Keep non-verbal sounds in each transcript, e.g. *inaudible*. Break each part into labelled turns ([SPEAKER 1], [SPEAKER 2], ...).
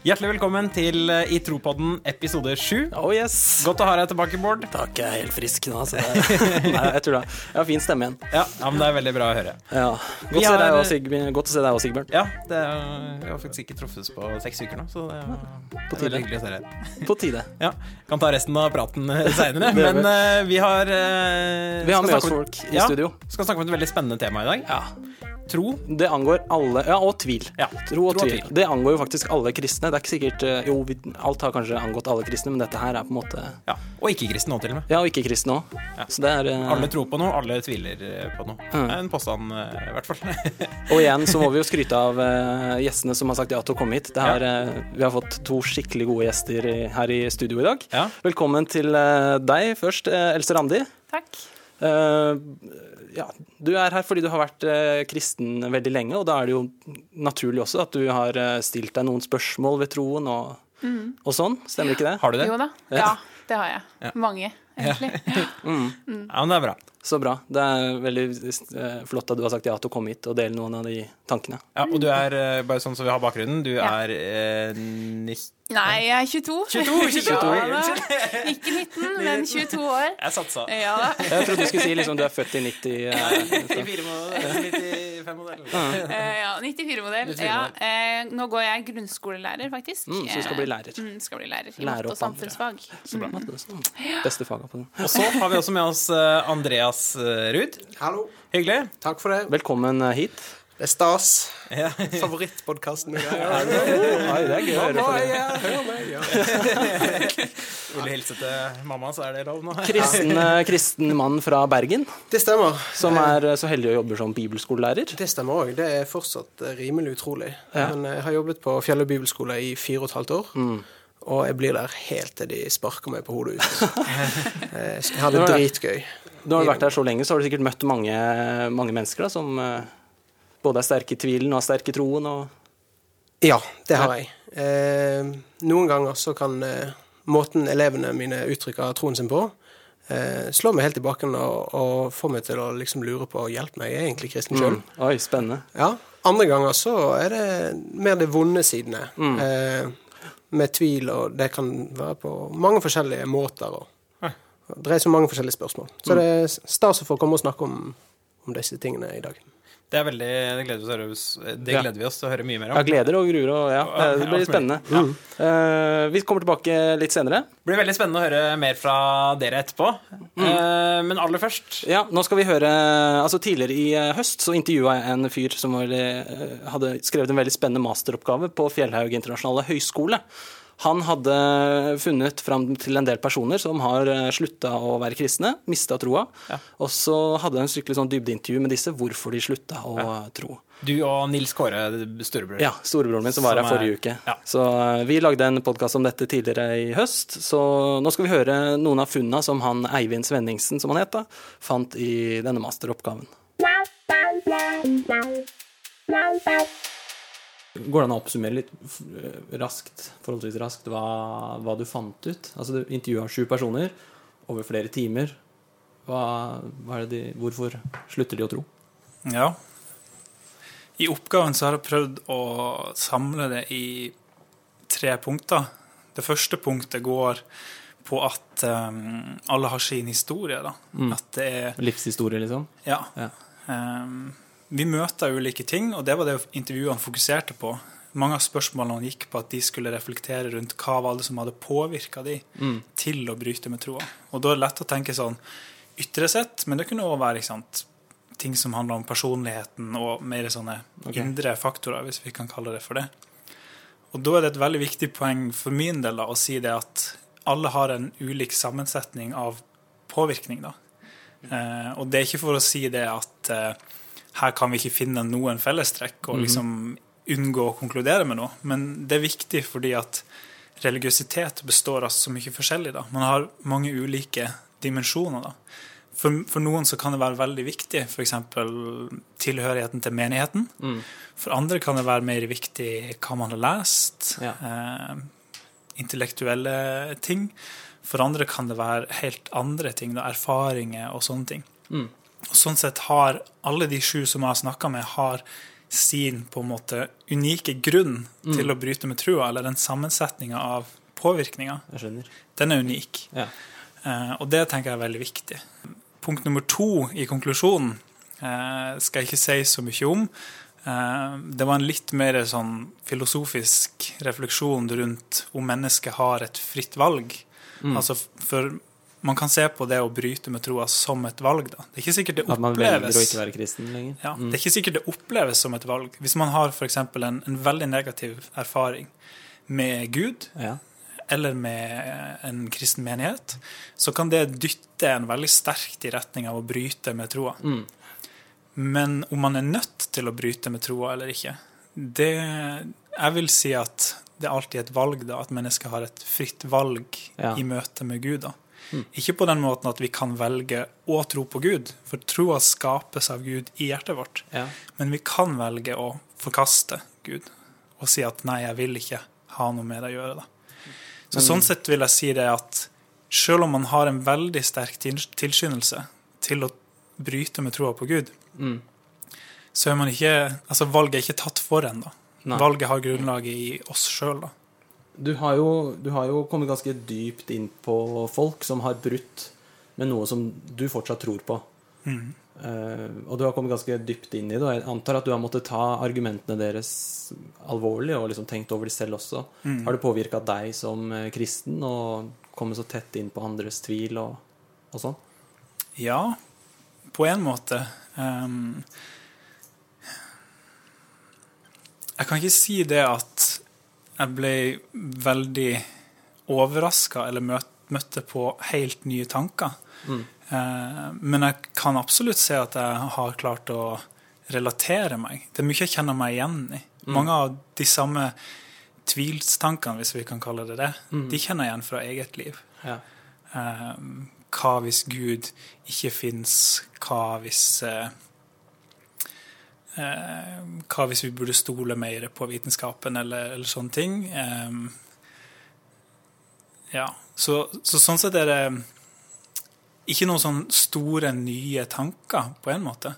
[SPEAKER 1] Hjertelig velkommen til eh, I tropodden episode 7.
[SPEAKER 2] Oh yes.
[SPEAKER 1] Godt å ha deg tilbake, Bård.
[SPEAKER 2] Takk, jeg er helt frisk nå. *laughs* Så det er... Nei, jeg tulla. Jeg har fin stemme igjen.
[SPEAKER 1] Ja, ja, men Det er veldig bra å høre.
[SPEAKER 2] Ja. Godt,
[SPEAKER 1] Vi
[SPEAKER 2] å se deg
[SPEAKER 1] har-
[SPEAKER 2] også, Sigb- Godt å se deg òg, Sigbjørn.
[SPEAKER 1] Ja, det er, Vi har faktisk ikke truffes på seks uker nå, så det er, det er veldig hyggelig å se deg.
[SPEAKER 2] På tide.
[SPEAKER 1] Ja, Kan ta resten av praten
[SPEAKER 2] *laughs*
[SPEAKER 1] seinere,
[SPEAKER 2] gjør vi.
[SPEAKER 1] men eh, vi har eh,
[SPEAKER 2] Vi har
[SPEAKER 1] skal
[SPEAKER 2] med oss
[SPEAKER 1] snakke om-
[SPEAKER 2] folk i studio.
[SPEAKER 1] Skal snakke om et veldig spennende tema i dag.
[SPEAKER 2] Ja.
[SPEAKER 1] Tro.
[SPEAKER 2] Det angår alle Ja, og tvil.
[SPEAKER 1] Ja.
[SPEAKER 2] Tro og tvil. Det angår jo faktisk alle kristne. Det er ikke sikkert eh, Jo, vi, alt har kanskje angått alle kristne, men dette her er på en måte
[SPEAKER 1] Ja, Og ikke-kristne òg, til og med.
[SPEAKER 2] Ja, og ikke kristne òg. Så det er eh,
[SPEAKER 1] Alle tror på noe, alle tviler eh, på noe.
[SPEAKER 2] Mm.
[SPEAKER 1] Det er en påstand, eh, i hvert fall. *laughs*
[SPEAKER 2] Og igjen så må vi jo skryte av eh, gjestene som har sagt ja til å komme hit. Det er, eh, vi har fått to skikkelig gode gjester i, her i studio i dag.
[SPEAKER 1] Ja.
[SPEAKER 2] Velkommen til eh, deg først, eh, Else Randi.
[SPEAKER 3] Takk.
[SPEAKER 2] Eh, ja, du er her fordi du har vært eh, kristen veldig lenge, og da er det jo naturlig også at du har eh, stilt deg noen spørsmål ved troen og, og sånn. Stemmer ikke det?
[SPEAKER 1] Har du det?
[SPEAKER 3] Jo da. Ja, det har jeg. Mange, egentlig.
[SPEAKER 1] Ja, men det er bra.
[SPEAKER 2] Så bra. Det er veldig eh, flott at du har sagt ja til å komme hit og dele noen av de tankene.
[SPEAKER 1] Ja, og du er, eh, bare sånn som vi har bakgrunnen, du
[SPEAKER 3] Ja.
[SPEAKER 1] er eh, nis-
[SPEAKER 3] Nei, jeg er 22.
[SPEAKER 1] 22, 22 år.
[SPEAKER 3] Ja, da. Ikke 19, men 22 år.
[SPEAKER 1] Jeg satsa.
[SPEAKER 3] Ja
[SPEAKER 2] *laughs*
[SPEAKER 3] da.
[SPEAKER 2] Jeg trodde du skulle si liksom du er født i 90 eh, så-
[SPEAKER 1] *laughs* 95-modell.
[SPEAKER 3] Eh, Ja, 94-modell.
[SPEAKER 1] 94-modell.
[SPEAKER 3] Ja, eh, nå går jeg grunnskolelærer, faktisk.
[SPEAKER 2] Mm, så du skal bli lærer.
[SPEAKER 3] Eh, Mm, skal bli lærer. I
[SPEAKER 2] Lære
[SPEAKER 3] matte og
[SPEAKER 2] opp andre.
[SPEAKER 3] samfunnsfag.
[SPEAKER 2] Så bra. Beste faget på den.
[SPEAKER 1] Og så har vi også med oss eh, Andreas eh, Ruud.
[SPEAKER 4] Hallo.
[SPEAKER 1] Hyggelig.
[SPEAKER 4] Takk for det.
[SPEAKER 2] Velkommen eh, hit.
[SPEAKER 4] Det er stas. *laughs*
[SPEAKER 2] *laughs*
[SPEAKER 4] Favorittpodkasten min. Ja,
[SPEAKER 2] Oi, det er gøy å høre på det.
[SPEAKER 4] hør meg. Ja.
[SPEAKER 1] Vil du hilse til mamma, så er det lov nå.
[SPEAKER 2] Kristen, eh, kristen mann fra Bergen,
[SPEAKER 4] Det stemmer. Eh,
[SPEAKER 2] som er eh, så heldig å jobbe som bibelskolelærer.
[SPEAKER 4] Det stemmer òg. Det er fortsatt eh, rimelig utrolig.
[SPEAKER 2] Ja. Mm.
[SPEAKER 4] Men eh, jeg har jobbet på Fjelløy bibelskole i fire og et halvt år. Og jeg blir der helt til de sparker meg på
[SPEAKER 2] *laughs*
[SPEAKER 4] hodet ut. Eh, Jeg har det
[SPEAKER 2] Det var det.
[SPEAKER 4] dritgøy.
[SPEAKER 2] Du har vært der så lenge, så har du sikkert møtt mange, mange mennesker da, som eh, både er sterke i tvilen og er sterke i troen. Og...
[SPEAKER 4] Ja, det har jeg. Eh, noen ganger så kan eh, måten elevene mine uttrykker troen sin på, eh, slå meg helt i bakken og, og få meg til å liksom lure på Hjelp meg, jeg er egentlig kristen
[SPEAKER 1] Mm.
[SPEAKER 4] sjøl.
[SPEAKER 2] Oi, spennende.
[SPEAKER 4] Ja. Andre ganger så er det mer de vonde sidene. Eh, med tvil, og det kan være på mange forskjellige måter. Og, og det er så mange forskjellige spørsmål. Så det er stas å få komme og snakke om, om disse tingene i dag.
[SPEAKER 1] Det er veldig, det gleder, vi oss, til å høre oss- det
[SPEAKER 2] Ja.
[SPEAKER 1] gleder vi oss til å høre mye mer om.
[SPEAKER 2] Jeg gleder og gruer og ja,
[SPEAKER 1] Ja, Mm.
[SPEAKER 2] det
[SPEAKER 1] alt
[SPEAKER 2] blir
[SPEAKER 1] mulig.
[SPEAKER 2] spennende. Eh, vi kommer tilbake litt senere.
[SPEAKER 1] Det blir veldig spennende å høre mer fra dere etterpå.
[SPEAKER 2] Mm.
[SPEAKER 1] Eh, men aller først
[SPEAKER 2] Ja, nå skal vi høre Altså Tidligere i eh, høst så intervjua jeg en fyr som var, eh, hadde skrevet en veldig spennende masteroppgave på Fjellhaug internasjonale høgskole. Han hadde funnet fram til en del personer som har slutta å være kristne, mista troa. Og så hadde han et skikkelig sånn dybdeintervju med disse hvorfor de slutta å eh, tro.
[SPEAKER 1] Du og Nils Kåre, storebror.
[SPEAKER 2] Ja, storebroren min som var
[SPEAKER 1] Som
[SPEAKER 2] her
[SPEAKER 1] er-
[SPEAKER 2] forrige uke.
[SPEAKER 1] ja.
[SPEAKER 2] Så eh, vi lagde en podkast om dette tidligere i høst. Så nå skal vi høre noen av funna som han Eivind Svenningsen, som han het, da, fant i denne masteroppgaven. Går det an å oppsummere litt f- eh, raskt, forholdsvis raskt, hva, hva du fant ut? Altså, du intervjua sju personer over flere timer. Hva, hva er det de, hvorfor slutter de å tro?
[SPEAKER 5] Ja. I oppgaven så har jeg prøvd å samle det i tre punkter. Det første punktet går på at um, alle har sin historie, da. At det er
[SPEAKER 2] Livshistorie, liksom?
[SPEAKER 5] Ja.
[SPEAKER 2] Ja.
[SPEAKER 5] Um, vi møter ulike ting, og det var det intervjuene fokuserte på. Mange av spørsmålene gikk på at de skulle reflektere rundt hva var det som hadde påvirka de
[SPEAKER 2] Mm.
[SPEAKER 5] til å bryte med troa. Og da er det lett å tenke sånn ytre sett, men det kunne òg være ikke sant, ting som handler om personligheten og mer sånne
[SPEAKER 2] Ok.
[SPEAKER 5] indre faktorer, hvis vi kan kalle det for det. Og da er det et veldig viktig poeng for min del da, å si det at alle har en ulik sammensetning av påvirkning, da. Eh, og det er ikke for å si det at eh, her kan vi ikke finne noen fellestrekk og liksom unngå å konkludere med noe, men det er viktig fordi at religiøsitet består av så mye forskjellig. da. Man har mange ulike dimensjoner. da. For, for noen så kan det være veldig viktig, f.eks. tilhørigheten til menigheten. For andre kan det være mer viktig hva man har lest,
[SPEAKER 2] Ja.
[SPEAKER 5] eh, intellektuelle ting. For andre kan det være helt andre ting, da, erfaringer og sånne ting. Og sånn sett har alle de sju som jeg har snakka med, har sin på en måte unike grunn til å bryte med trua, eller den sammensetninga av påvirkninga,
[SPEAKER 2] Jeg skjønner.
[SPEAKER 5] den er unik.
[SPEAKER 2] Ja.
[SPEAKER 5] Eh, Og det tenker jeg er veldig viktig. Punkt nummer to i konklusjonen eh, skal jeg ikke si så mye om. Eh, Det var en litt mer sånn filosofisk refleksjon rundt om mennesket har et fritt valg.
[SPEAKER 2] Mm.
[SPEAKER 5] Altså f- for man kan se på det å bryte med troa som et valg, da. Det er ikke sikkert det
[SPEAKER 2] At man
[SPEAKER 5] oppleves
[SPEAKER 2] velger å ikke være kristen lenger. Mm.
[SPEAKER 5] ja, Det er ikke sikkert det oppleves som et valg. Hvis man har f.eks. En, en veldig negativ erfaring med Gud,
[SPEAKER 2] Ja.
[SPEAKER 5] eller med en kristen menighet, så kan det dytte en veldig sterkt i retning av å bryte med troa.
[SPEAKER 2] Mm.
[SPEAKER 5] Men om man er nødt til å bryte med troa eller ikke, det Jeg vil si at det er alltid et valg, da, at mennesket har et fritt valg
[SPEAKER 2] Ja. Mm.
[SPEAKER 5] i møte med Gud. da. Ikke på den måten at vi kan velge å tro på Gud, for troa skapes av Gud i hjertet vårt.
[SPEAKER 2] Ja.
[SPEAKER 5] Men vi kan velge å forkaste Gud og si at nei, jeg vil ikke ha noe med det å gjøre. Da. Så
[SPEAKER 2] Mm.
[SPEAKER 5] Sånn sett vil jeg si det at selv om man har en veldig sterk til- tilskyndelse til å bryte med troa på Gud,
[SPEAKER 2] Mm.
[SPEAKER 5] så er man ikke Altså, valget er ikke tatt for en, da.
[SPEAKER 2] Nei.
[SPEAKER 5] Valget har grunnlaget i oss sjøl, da.
[SPEAKER 2] Du, har jo, du har jo kommet ganske dypt inn på folk som har brutt med noe som du fortsatt tror på. Eh, og du har kommet ganske dypt inn i det, og jeg antar at du har måttet ta argumentene deres alvorlig og liksom tenkt over det selv også. Har det påvirka deg som eh, kristen å komme så tett inn på andres tvil og, og sånn?
[SPEAKER 5] Ja, på en måte. Ehm, jeg kan ikke si det at jeg ble veldig overraska eller møt, møtte på helt nye tanker. Eh, men jeg kan absolutt se at jeg har klart å relatere meg. Det er mye jeg kjenner meg igjen i. Mange av de samme tvilstankene, hvis vi kan kalle det det, de kjenner jeg igjen fra eget liv.
[SPEAKER 2] Ja.
[SPEAKER 5] Eh, hva hvis Gud ikke fins? Hva hvis eh, eh, Hva hvis vi burde stole mer på vitenskapen, eller, eller sånne ting? Eh, ja. Så, så sånn sett er det ikke noen sånn store, nye tanker, på en måte.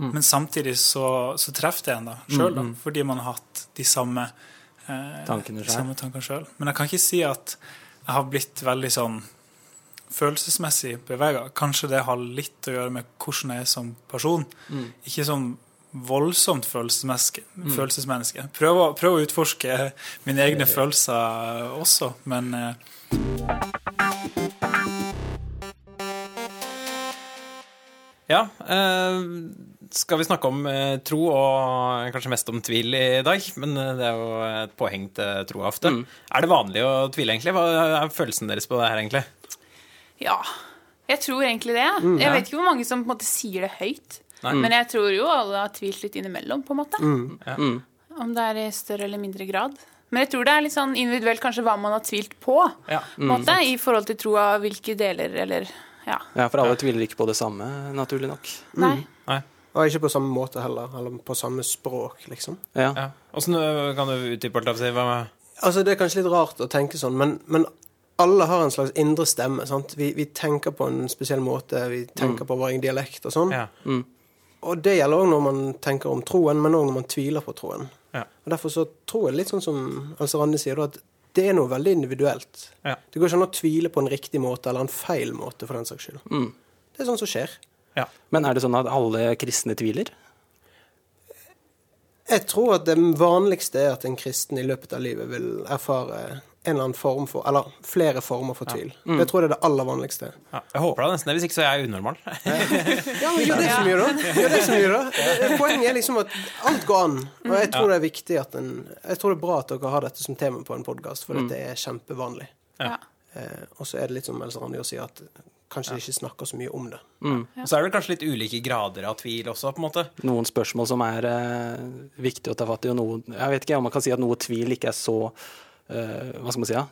[SPEAKER 2] Mm.
[SPEAKER 5] Men samtidig så, så treffer det en da, sjøl, da, fordi man har hatt de samme eh,
[SPEAKER 2] Tankene selv.
[SPEAKER 5] samme tankene sjøl. Men jeg kan ikke si at jeg har blitt veldig sånn følelsesmessig bevega. Kanskje det har litt å gjøre med hvordan jeg er som person.
[SPEAKER 2] Mm.
[SPEAKER 5] Ikke sånn voldsomt følelsesmenneske. følelsesmenneske. Prøv, å, prøv å utforske mine egne følelser også, men eh,
[SPEAKER 1] Ja, eh, skal vi snakke om eh, tro, og eh, kanskje mest om tvil i dag. Men eh, det er jo et påheng til troa ofte. Er det vanlig å tvile, egentlig? Hva er følelsen deres på det her, egentlig?
[SPEAKER 3] Ja. Jeg tror egentlig det.
[SPEAKER 2] Mm,
[SPEAKER 3] Jeg vet ikke hvor mange som på en måte sier det høyt.
[SPEAKER 1] Nei.
[SPEAKER 3] Men jeg tror jo alle har tvilt litt innimellom, på en måte.
[SPEAKER 2] Mm,
[SPEAKER 3] Om det er i større eller mindre grad. Men jeg tror det er litt sånn individuelt kanskje hva man har tvilt på,
[SPEAKER 1] Ja.
[SPEAKER 3] på en måte, i forhold til troa, hvilke deler eller Ja.
[SPEAKER 2] ja, for alle tviler ikke på det samme, naturlig nok.
[SPEAKER 3] Nei.
[SPEAKER 1] Nei.
[SPEAKER 4] Og ikke på samme måte heller, eller på samme språk, liksom.
[SPEAKER 2] Ja.
[SPEAKER 1] Ja. Åssen øh, kan du utdype alt av seg? Hva
[SPEAKER 4] Altså, det er kanskje litt rart å tenke sånn, men, men alle har en slags indre stemme. sant? Vi, vi tenker på en spesiell måte, vi tenker på vår egen dialekt og sånn.
[SPEAKER 1] ja.
[SPEAKER 2] Mm.
[SPEAKER 4] Og det gjelder òg når man tenker om troen, men òg når man tviler på troen.
[SPEAKER 1] Ja.
[SPEAKER 4] Og Derfor så tror jeg litt sånn som altså Randi sier, da, at det er noe veldig individuelt.
[SPEAKER 1] Ja.
[SPEAKER 4] Det går ikke an å tvile på en riktig måte eller en feil måte, for den saks skyld. Det er sånn som skjer.
[SPEAKER 1] ja.
[SPEAKER 2] Mm. Men er det sånn at alle kristne tviler?
[SPEAKER 4] Jeg tror at det vanligste er at en kristen i løpet av livet vil erfare en eller annen form for, eller flere former for tvil. Det tror jeg er det aller vanligste.
[SPEAKER 1] Ja. Jeg håper da nesten det, hvis ikke så er jeg unormal. *laughs*
[SPEAKER 4] Ja, men gjør det så mye, da. Gjør det så mye, da. Det- det- Poenget er liksom at alt går an. Og jeg tror det er viktig at en Jeg tror det er bra at dere har dette som tema på en podkast, for dette er kjempevanlig.
[SPEAKER 3] Ja.
[SPEAKER 4] Eh, og så er det litt som Else Randi sier, at kanskje de ikke snakker så mye om det.
[SPEAKER 1] Og så er det vel kanskje litt ulike grader av tvil også, på en måte.
[SPEAKER 2] noen spørsmål som er eh, viktige å ta fatt i, og noe Jeg vet ikke om man kan si at noe tvil ikke er så eh, Hva skal man si, da?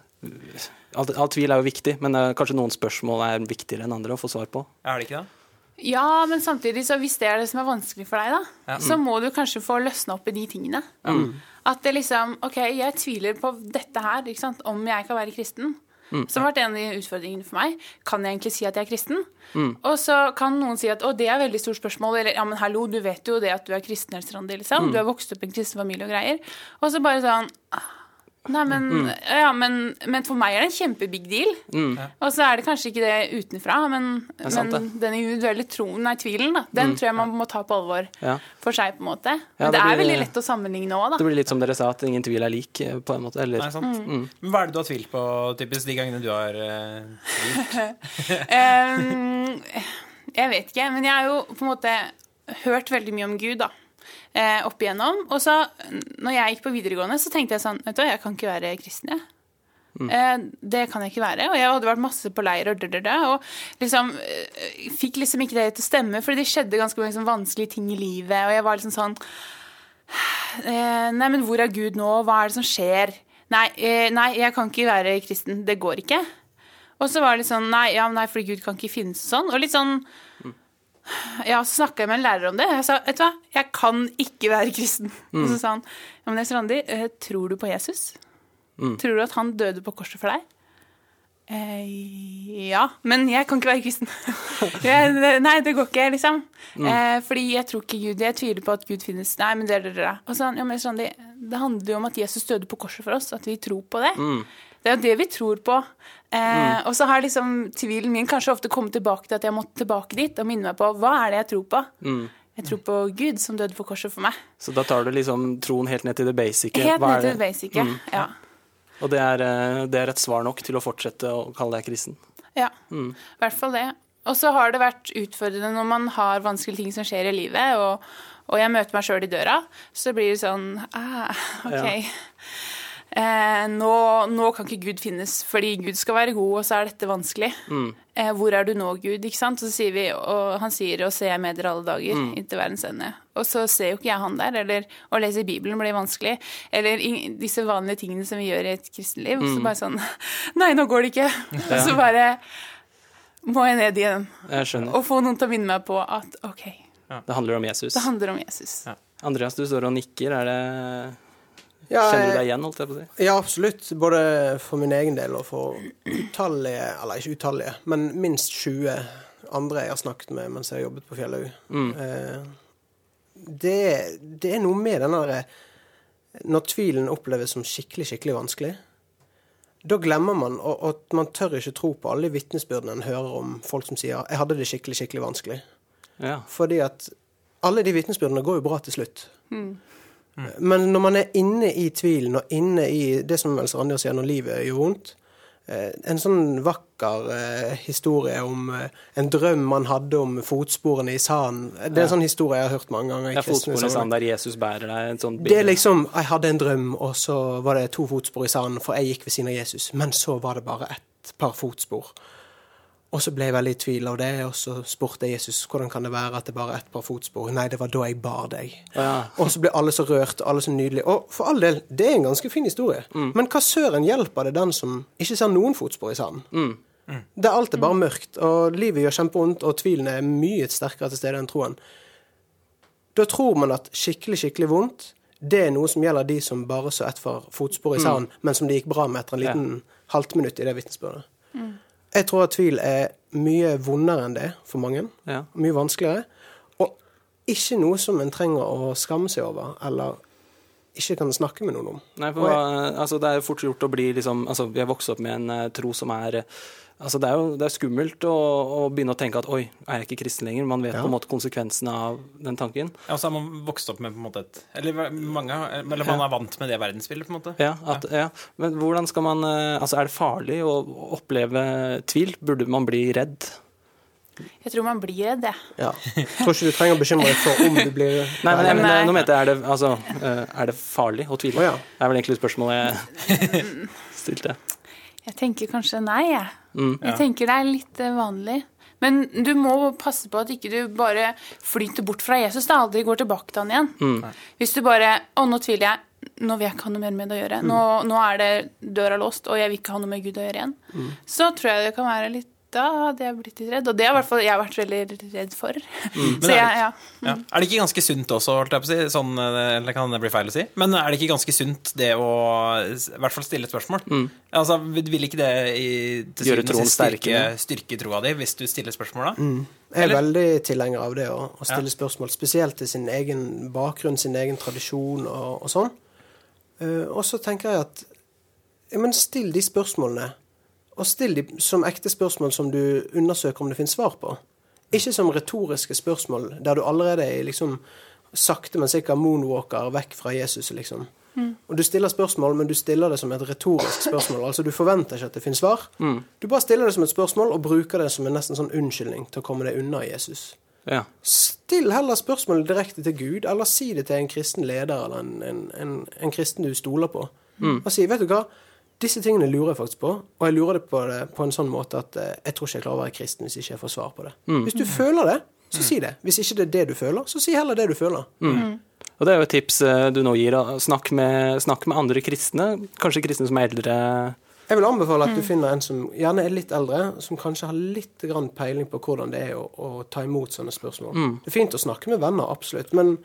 [SPEAKER 2] All, all tvil er jo viktig, men eh, kanskje noen spørsmål er viktigere enn andre å få svar på.
[SPEAKER 1] Er det ikke det?
[SPEAKER 3] Ja, men samtidig, så hvis det er det som er vanskelig for deg, da,
[SPEAKER 1] Ja.
[SPEAKER 3] så må du kanskje få løsna opp i de tingene.
[SPEAKER 2] Mm.
[SPEAKER 3] At det liksom OK, jeg tviler på dette her, ikke sant, om jeg kan være kristen.
[SPEAKER 2] Mm.
[SPEAKER 3] Som har vært en av utfordringene for meg. Kan jeg egentlig si at jeg er kristen?
[SPEAKER 2] Mm.
[SPEAKER 3] Og så kan noen si at å, det er et veldig stort spørsmål, eller ja, men hallo, du vet jo det at du er kristen, eller sånn,
[SPEAKER 2] Mm.
[SPEAKER 3] liksom. Du har vokst opp i en kristen familie og greier. Og så bare sånn Nei, men,
[SPEAKER 2] Mm.
[SPEAKER 3] ja, men, men for meg er det en kjempebig deal. Og så er det kanskje ikke det utenfra, men,
[SPEAKER 2] er sant,
[SPEAKER 3] men den individuelle troen, nei, tvilen, da, den tror jeg man må ta på alvor
[SPEAKER 2] Mm. Ja.
[SPEAKER 3] for seg, på en måte. Men
[SPEAKER 2] Ja,
[SPEAKER 3] det,
[SPEAKER 2] det
[SPEAKER 3] er
[SPEAKER 2] blir-
[SPEAKER 3] veldig lett å sammenligne òg, da.
[SPEAKER 2] Det blir litt som dere sa, at ingen tvil er lik, eh, på en måte. Eller
[SPEAKER 1] Nei, sant? Men hva er det du har tvilt på, typisk, de gangene du har eh, tvilt?
[SPEAKER 3] Ehm, jeg vet ikke, men jeg har jo på en måte hørt veldig mye om Gud, da. eh, Opp igjennom. Og så, når jeg gikk på videregående, så tenkte jeg sånn Vet du hva, jeg kan ikke være kristen, jeg. Eh, Det kan jeg ikke være. Og jeg hadde vært masse på leir og dødødø. Og liksom eh, fikk liksom ikke det til å stemme, fordi det skjedde ganske mange sånn vanskelige ting i livet. Og jeg var liksom sånn eh, Nei, men hvor er Gud nå? Hva er det som skjer? Nei, eh, nei, jeg kan ikke være kristen. Det går ikke. Og så var det litt sånn Nei, ja, men nei, fordi Gud kan ikke finnes og sånn. Og litt sånn Ja, så snakka jeg med en lærer om det. Jeg sa, vet du hva, jeg kan ikke være kristen. Og så sa han, ja, men Nils Randi, eh, tror du på Jesus? Tror du at han døde på korset for deg? Eh, ja, men jeg kan ikke være kristen. *laughs* jeg, nei, det går ikke, liksom. Eh, fordi jeg tror ikke Gud, jeg tviler på at Gud finnes. Nei, men det er det, det. er. Og så, sa han, ja, men Nils Randi, det handler jo om at Jesus døde på korset for oss, at vi tror på det. Det er jo det vi tror på. Eh,
[SPEAKER 2] Mm.
[SPEAKER 3] Og så har liksom tvilen min kanskje ofte kommet tilbake til at jeg måtte tilbake dit og minne meg på hva er det jeg tror på.
[SPEAKER 2] Mm.
[SPEAKER 3] Jeg tror på Gud som døde på korset for meg.
[SPEAKER 2] Så da tar du liksom troen helt ned til det basice.
[SPEAKER 3] Helt
[SPEAKER 2] Hva
[SPEAKER 3] ned
[SPEAKER 2] er
[SPEAKER 3] til det
[SPEAKER 2] det? Mm.
[SPEAKER 3] basice. Ja.
[SPEAKER 2] Og det er, eh, det er et svar nok til å fortsette å kalle deg kristen.
[SPEAKER 3] Ja, i hvert fall det. Og så har det vært utfordrende når man har vanskelige ting som skjer i livet, og, og jeg møter meg sjøl i døra, så blir det sånn ah, OK. *laughs* Eh, nå, nå kan ikke Gud finnes, fordi Gud skal være god, og så er dette vanskelig. Eh, hvor er du nå, Gud? Ikke sant? Og så sier vi, og han sier 'og ser jeg med dere alle dager', inntil verdens ende. Og så ser jo ikke jeg han der, eller å lese Bibelen blir vanskelig. Eller i, disse vanlige tingene som vi gjør i et kristenliv. Så bare sånn *laughs* Nei, nå går det ikke. Og *laughs* så bare må jeg ned igjen
[SPEAKER 2] Jeg skjønner.
[SPEAKER 3] og få noen til å minne meg på at OK,
[SPEAKER 2] Det handler om Jesus.
[SPEAKER 3] det handler om Jesus.
[SPEAKER 1] Ja.
[SPEAKER 2] Andreas, du står og nikker. Er det
[SPEAKER 4] Ja,
[SPEAKER 2] Kjenner du
[SPEAKER 4] jeg-
[SPEAKER 2] deg igjen, holdt jeg på å si?
[SPEAKER 4] Ja, absolutt. Både for min egen del og for utallige, eller ikke utallige, men minst 20 andre jeg har snakket med mens jeg har jobbet på Fjellhaug. Eh, det, det er noe med den derre Når tvilen oppleves som skikkelig, skikkelig vanskelig, da glemmer man og- og at man tør ikke tro på alle de vitnesbyrdene en hører om folk som sier 'jeg hadde det skikkelig, skikkelig vanskelig'.
[SPEAKER 2] Ja.
[SPEAKER 4] Fordi at alle de vitnesbyrdene går jo bra til slutt. Men når man er inne i tvilen og inne i det som Else Randi sier, når livet gjør vondt eh, En sånn vakker eh, historie om eh, en drøm man hadde om fotsporene i sanden. Det er en sånn historie jeg har hørt mange ganger. i
[SPEAKER 2] Det er
[SPEAKER 4] kristne
[SPEAKER 2] fotsporene i
[SPEAKER 4] sammenheng.
[SPEAKER 2] sanden der Jesus bærer deg. Et sånt
[SPEAKER 4] Det er
[SPEAKER 2] bilde.
[SPEAKER 4] liksom Jeg hadde en drøm, og så var det to fotspor i sanden, for jeg gikk ved siden av Jesus. Men så var det bare ett par fotspor. Og så ble jeg veldig i tvil av det, og så spurte jeg Jesus hvordan kan det være at det bare er ett par fotspor. Nei, det var da jeg bar deg. Og så ble alle så rørt, alle så nydelige. Og for all del, det er en ganske fin historie. Men hva søren hjelper det den som ikke ser noen fotspor i sanden? Det er alt er bare mørkt, og livet gjør kjempevondt, og tvilen er mye sterkere til stede enn troen. Da tror man at skikkelig, skikkelig vondt, det er noe som gjelder de som bare så ett for fotspor
[SPEAKER 2] Mm.
[SPEAKER 4] i sanden, men som det gikk bra med etter en liten halvtminutt i det vitnesbyrdet. Jeg tror at tvil er mye vondere enn det for mange.
[SPEAKER 2] Ja.
[SPEAKER 4] Mye vanskeligere. Og ikke noe som en trenger å skamme seg over, eller ikke kan snakke med noen om.
[SPEAKER 2] Nei, for, hva- altså, det er jo fort gjort å bli liksom altså, Jeg vokste opp med en eh, tro som er eh, Altså, det er jo det er skummelt å, å begynne å tenke at oi, er jeg ikke kristen lenger? Man vet på en måte konsekvensene av den tanken.
[SPEAKER 1] Ja, og så har man vokst opp med på en måte et Eller mange har- Eller man er vant med det verdensbildet, på en måte.
[SPEAKER 2] Ja, at, ja. Men hvordan skal man eh, Altså, er det farlig å oppleve tvil? Burde man bli redd?
[SPEAKER 3] Jeg tror man blir redd, jeg.
[SPEAKER 4] Ja. Tror ikke du trenger å bekymre deg for om du blir
[SPEAKER 2] Nei, men, jeg, men
[SPEAKER 3] Nei.
[SPEAKER 2] nå mente jeg er det, altså, eh, er det farlig å tvile?
[SPEAKER 4] Å, ja.
[SPEAKER 2] Det er vel egentlig spørsmålet jeg stilte.
[SPEAKER 3] Jeg tenker kanskje nei, jeg.
[SPEAKER 1] Mm,
[SPEAKER 3] Jeg tenker det er litt eh, vanlig. Men du må passe på at ikke du bare flyter bort fra Jesus. Da aldri går tilbake til han igjen.
[SPEAKER 1] Mm.
[SPEAKER 3] Hvis du bare Å, nå tviler jeg. Nå vil jeg ikke ha noe mer med
[SPEAKER 1] Mm.
[SPEAKER 3] det å
[SPEAKER 1] Mm.
[SPEAKER 3] gjøre. Nå, nå er det døra låst, og jeg vil ikke ha noe med Gud å gjøre igjen. Så tror jeg det kan være litt Da hadde jeg blitt litt redd, og det har i hvert fall jeg vært veldig redd for.
[SPEAKER 1] Mm. Men
[SPEAKER 3] *laughs* Så
[SPEAKER 1] er det-
[SPEAKER 3] jeg, ja.
[SPEAKER 1] Ja. Er det ikke ganske sunt også, holdt jeg på å si? Sånn, eh, eller kan det bli feil å si? Men er det ikke ganske sunt det å s- i hvert fall stille et spørsmål? Altså, Vil ikke det i, til
[SPEAKER 2] Mm. Gjøre
[SPEAKER 1] syvende og sist
[SPEAKER 2] troen Mm.
[SPEAKER 1] styrke, styrke troa di hvis du stiller spørsmål da?
[SPEAKER 4] Jeg er
[SPEAKER 1] Eller-
[SPEAKER 4] veldig tilhenger av det å, å stille spørsmål, spesielt til sin egen bakgrunn, sin egen tradisjon og, og sånn. Eh, og så tenker jeg at ja, men still de spørsmålene, og still de som ekte spørsmål som du undersøker om det finnes svar på. Ikke som retoriske spørsmål der du allerede er liksom sakte, men sikkert moonwalker vekk fra Jesus, liksom. Og du stiller spørsmål, men du stiller det som et retorisk spørsmål. Altså, du forventer ikke at det finnes svar. Du bare stiller det som et spørsmål og bruker det som en nesten sånn unnskyldning til å komme deg unna Jesus.
[SPEAKER 2] Ja.
[SPEAKER 4] Still heller spørsmålet direkte til Gud, eller si det til en kristen leder eller en, en, en, en kristen du stoler på. Og si 'Vet du hva, disse tingene lurer jeg faktisk på', og jeg lurer det på det på en sånn måte at eh, jeg tror ikke jeg klarer å være kristen hvis ikke jeg får svar på det. Hvis du føler det, så si det. Hvis ikke det er det du føler, så si heller det du føler.
[SPEAKER 2] Og det er jo et tips eh, du nå gir. da. Snakk med, snakk med andre kristne, kanskje kristne som er eldre.
[SPEAKER 4] Jeg vil anbefale at du finner en som gjerne er litt eldre, som kanskje har litt grann peiling på hvordan det er å, å ta imot sånne spørsmål. Det er fint å snakke med venner, absolutt, men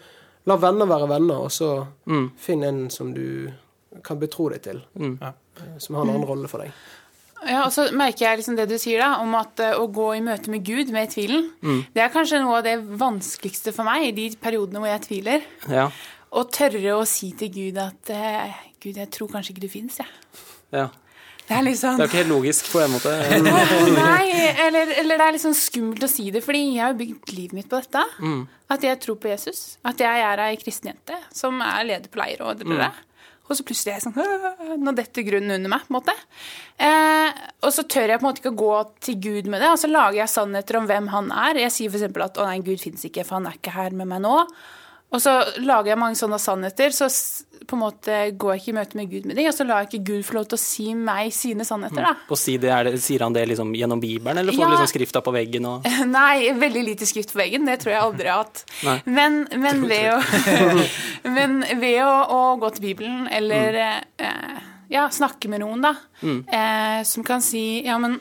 [SPEAKER 4] la venner være venner, og så finn en som du kan betro deg til,
[SPEAKER 1] Ja.
[SPEAKER 4] eh, som har en annen rolle for deg.
[SPEAKER 3] Ja, og så merker jeg liksom det du sier da, om at eh, å gå i møte med Gud med tvilen, det er kanskje noe av det vanskeligste for meg i de periodene hvor jeg tviler.
[SPEAKER 2] Ja,
[SPEAKER 3] Å tørre å si til Gud at eh, Gud, jeg tror kanskje ikke du fins, jeg.
[SPEAKER 2] ja.
[SPEAKER 3] Det er liksom
[SPEAKER 2] Det er jo ikke helt logisk på en måte.
[SPEAKER 3] Nei, eller, eller det er liksom skummelt å si det, fordi jeg har jo bygd livet mitt på dette. At jeg tror på Jesus. At jeg er ei kristen jente som er leder på leir og det der. Og så plutselig er jeg sånn «Åh, Nå detter grunnen under meg, på en måte. Eh, og så tør jeg på en måte ikke å gå til Gud med det. Og så lager jeg sannheter om hvem han er. Jeg sier f.eks. at å nei, Gud fins ikke, for han er ikke her med meg nå. Og så lager jeg mange sånne sannheter, så s- på en måte går jeg ikke i møte med Gud med de, og så lar jeg ikke Gud få lov til å si meg sine sannheter, da.
[SPEAKER 2] Og si det, er det, sier han det liksom gjennom Bibelen, eller får
[SPEAKER 3] Ja.
[SPEAKER 2] du liksom skrifta på veggen og
[SPEAKER 3] *laughs* Nei, veldig lite skrift på veggen. Det tror jeg aldri jeg har hatt.
[SPEAKER 2] *laughs* Nei.
[SPEAKER 3] Men, men ved, å, *laughs* men ved å, å gå til Bibelen eller
[SPEAKER 2] Mm.
[SPEAKER 3] eh, ja, snakke med noen, da, eh, som kan si Ja, men,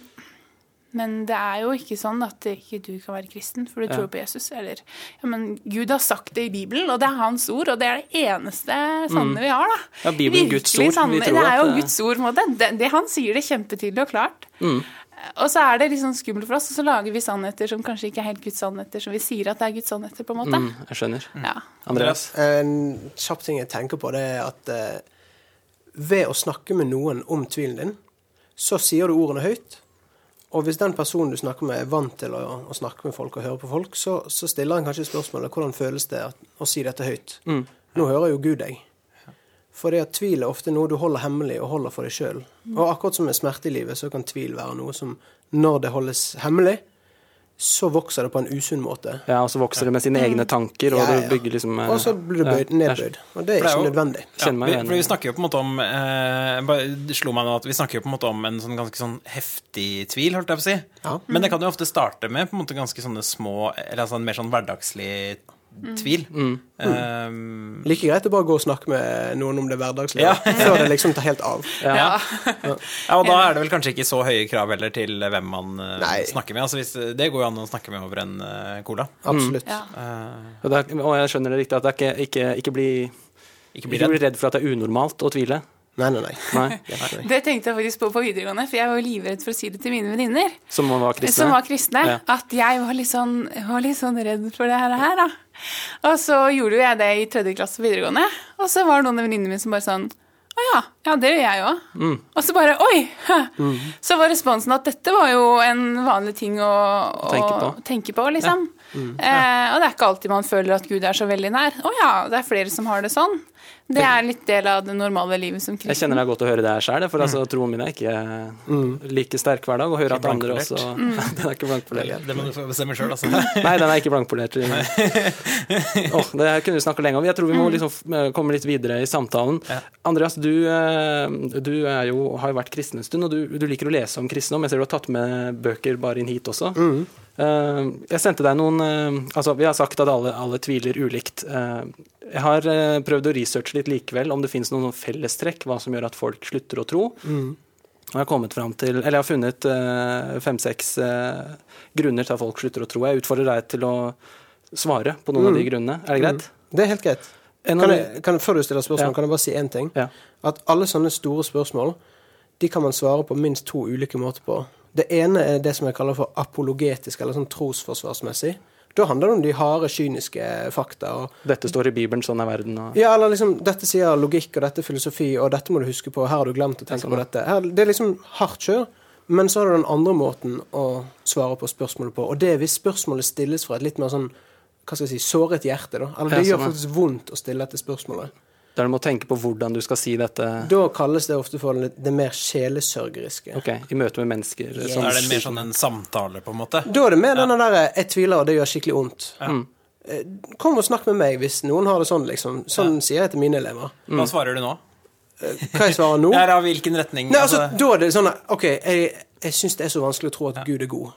[SPEAKER 3] men det er jo ikke sånn at ikke du kan være kristen, for du tror på Jesus. Eller Ja, men Gud har sagt det i Bibelen, og det er hans ord, og det er det eneste sanne vi har, da.
[SPEAKER 2] Mm. Ja, Bibelen, Guds ord. Vi
[SPEAKER 3] sanne.
[SPEAKER 2] tror
[SPEAKER 3] det er
[SPEAKER 2] at
[SPEAKER 3] jo
[SPEAKER 2] det-
[SPEAKER 3] Guds ord, på en måte. Det, det, han sier det kjempetydelig og klart. Og så er det litt sånn skummelt for oss, og så lager vi sannheter som kanskje ikke er helt Guds sannheter, som vi sier at det er Guds sannheter, på en måte.
[SPEAKER 2] mm, Jeg skjønner.
[SPEAKER 3] Ja.
[SPEAKER 2] Andreas?
[SPEAKER 4] En kjapp ting jeg tenker på, det er at eh, ved å snakke med noen om tvilen din, så sier du ordene høyt. Og hvis den personen du snakker med, er vant til å, å snakke med folk og høre på folk, så, så stiller han kanskje spørsmålet hvordan føles det at, å si dette høyt. Nå hører jo Gud deg. Fordi at tvil er ofte noe du holder hemmelig og holder for deg sjøl. Og akkurat som med smerte i livet, så kan tvil være noe som når det holdes hemmelig, så vokser det på en usunn måte.
[SPEAKER 2] Ja, og så vokser det med sine
[SPEAKER 3] Mm.
[SPEAKER 2] egne tanker, og
[SPEAKER 4] Ja,
[SPEAKER 2] det
[SPEAKER 4] ja.
[SPEAKER 2] bygger liksom eh,
[SPEAKER 4] Og så blir du
[SPEAKER 2] ja,
[SPEAKER 4] bøyd, nedbøyd. Og det er
[SPEAKER 1] For det er
[SPEAKER 4] ikke
[SPEAKER 1] jo-
[SPEAKER 4] nødvendig.
[SPEAKER 2] Jeg kjenner meg
[SPEAKER 1] vi,
[SPEAKER 2] igjen.
[SPEAKER 1] for vi snakker jo på en måte om eh, bare, Det slo meg nå at vi snakker jo på en måte om en sånn ganske sånn heftig tvil, holdt jeg på å si.
[SPEAKER 4] Ja.
[SPEAKER 1] Men det kan jo ofte starte med på en måte ganske sånne små Eller altså en mer sånn hverdagslig tvil.
[SPEAKER 2] Mm.
[SPEAKER 1] Eh,
[SPEAKER 4] Like greit å bare gå og snakke med noen om det hverdagslige
[SPEAKER 1] Ja.
[SPEAKER 4] *laughs* før det liksom tar helt av.
[SPEAKER 1] ja. ja, og da er det vel kanskje ikke så høye krav heller til hvem man eh,
[SPEAKER 4] Nei.
[SPEAKER 1] snakker med. Altså hvis, det går jo an å snakke med over en eh, cola.
[SPEAKER 4] Absolutt.
[SPEAKER 3] Ja.
[SPEAKER 2] Og, det er, og jeg skjønner det riktig, at det er ikke, ikke, ikke, bli,
[SPEAKER 1] Ikke bli
[SPEAKER 2] ikke
[SPEAKER 1] redd.
[SPEAKER 2] bli redd for at det er unormalt å tvile.
[SPEAKER 4] Nei, nei, nei. *laughs*
[SPEAKER 2] Nei.
[SPEAKER 4] Nei.
[SPEAKER 3] Det tenkte jeg faktisk på på videregående, for jeg var jo livredd for å si det til mine venninner.
[SPEAKER 2] Som man var kristne.
[SPEAKER 3] Som var kristne.
[SPEAKER 2] Ja.
[SPEAKER 3] At jeg var litt, sånn, var litt sånn redd for det her, her, da. Og så gjorde jo jeg det i tredje klasse på videregående. Og så var det noen av venninnene mine som bare sånn Å ja, ja, det gjør jeg òg.
[SPEAKER 2] Mm.
[SPEAKER 3] Og så bare Oi! Så var responsen at dette var jo en vanlig ting å, å
[SPEAKER 2] Tenke
[SPEAKER 3] tenke,
[SPEAKER 2] på. Mm.
[SPEAKER 3] på. liksom. Eh, og det er ikke alltid man føler at Gud er så veldig nær. Å ja, det er flere som har det sånn. Det er litt del av det normale livet som
[SPEAKER 2] Jeg
[SPEAKER 3] kristen.
[SPEAKER 2] kjenner det er godt å høre det her sjøl, for
[SPEAKER 4] Mm.
[SPEAKER 2] altså, troen min er ikke eh, like sterk hver dag. Å høre at andre også
[SPEAKER 3] Mm.
[SPEAKER 2] *laughs* Den er ikke blankpolert.
[SPEAKER 1] Det må du få bestemme sjøl,
[SPEAKER 4] *laughs*
[SPEAKER 1] altså.
[SPEAKER 2] Nei, den er ikke blankpolert. Åh, det her kunne vi snakka lenge om. Jeg tror vi må liksom f- komme litt videre i samtalen. Andreas, du, eh, du er jo, har jo vært kristen en stund, og du, du liker å lese om kristendom. Jeg ser du har tatt med bøker bare inn hit også. Eh, Jeg sendte deg noen eh, Altså, vi har sagt at alle, alle tviler ulikt. Eh, Jeg har eh,
[SPEAKER 4] Mm.
[SPEAKER 2] prøvd å researche litt likevel om det finnes noen sånn fellestrekk, hva som gjør at folk slutter å tro. Og jeg har, kommet frem til, eller jeg har funnet eh, fem-seks eh, grunner til at folk slutter å tro. Jeg utfordrer deg til å svare på noen av de grunnene. Er det greit?
[SPEAKER 4] Det er helt greit.
[SPEAKER 2] En av
[SPEAKER 4] Mm. Kan
[SPEAKER 2] de-
[SPEAKER 4] jeg, kan, før du stiller spørsmål,
[SPEAKER 2] Ja.
[SPEAKER 4] kan jeg bare si én ting?
[SPEAKER 2] Ja.
[SPEAKER 4] At alle sånne store spørsmål de kan man svare på minst to ulike måter på. Det ene er det som jeg kaller for apologetisk, eller sånn trosforsvarsmessig. Da handler det om de harde, kyniske fakta. og
[SPEAKER 2] Dette står i Bibelen, sånn er verden. Og...
[SPEAKER 4] ja, eller liksom, Dette sier logikk, og dette er filosofi, og dette må du huske på. Her har du glemt å tenke på dette. Her, det er liksom hardt kjør. Men så har du den andre måten å svare på spørsmålet på. Og det er hvis spørsmålet stilles fra et litt mer sånn hva skal jeg si, såret hjerte. da. Eller det
[SPEAKER 2] Ja,
[SPEAKER 4] gjør
[SPEAKER 2] sånn, ja.
[SPEAKER 4] faktisk vondt å stille dette spørsmålet.
[SPEAKER 2] Der du må tenke på hvordan du skal si dette
[SPEAKER 4] Da kalles det ofte for det det mer sjelesørgeriske.
[SPEAKER 2] Ok, i møte med mennesker.
[SPEAKER 1] Da
[SPEAKER 2] Sånn.
[SPEAKER 1] er det mer sånn en samtale, på en måte.
[SPEAKER 4] Da er det mer denne derre 'jeg tviler, og det gjør skikkelig vondt'. Eh, Kom og snakk med meg hvis noen har det sånn, liksom. Sånn sier jeg til mine elever. Eh,
[SPEAKER 1] Hva svarer du nå?
[SPEAKER 4] Hva jeg svarer nå?
[SPEAKER 1] Ja, da, hvilken retning?
[SPEAKER 4] Nei, altså,
[SPEAKER 1] altså,
[SPEAKER 4] da er det sånn at, OK, jeg, jeg syns det er så vanskelig å tro at Gud er god.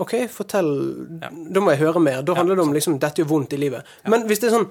[SPEAKER 4] OK, fortell Da må jeg høre mer. Da handler det om liksom, dette gjør vondt i livet. Men hvis det er sånn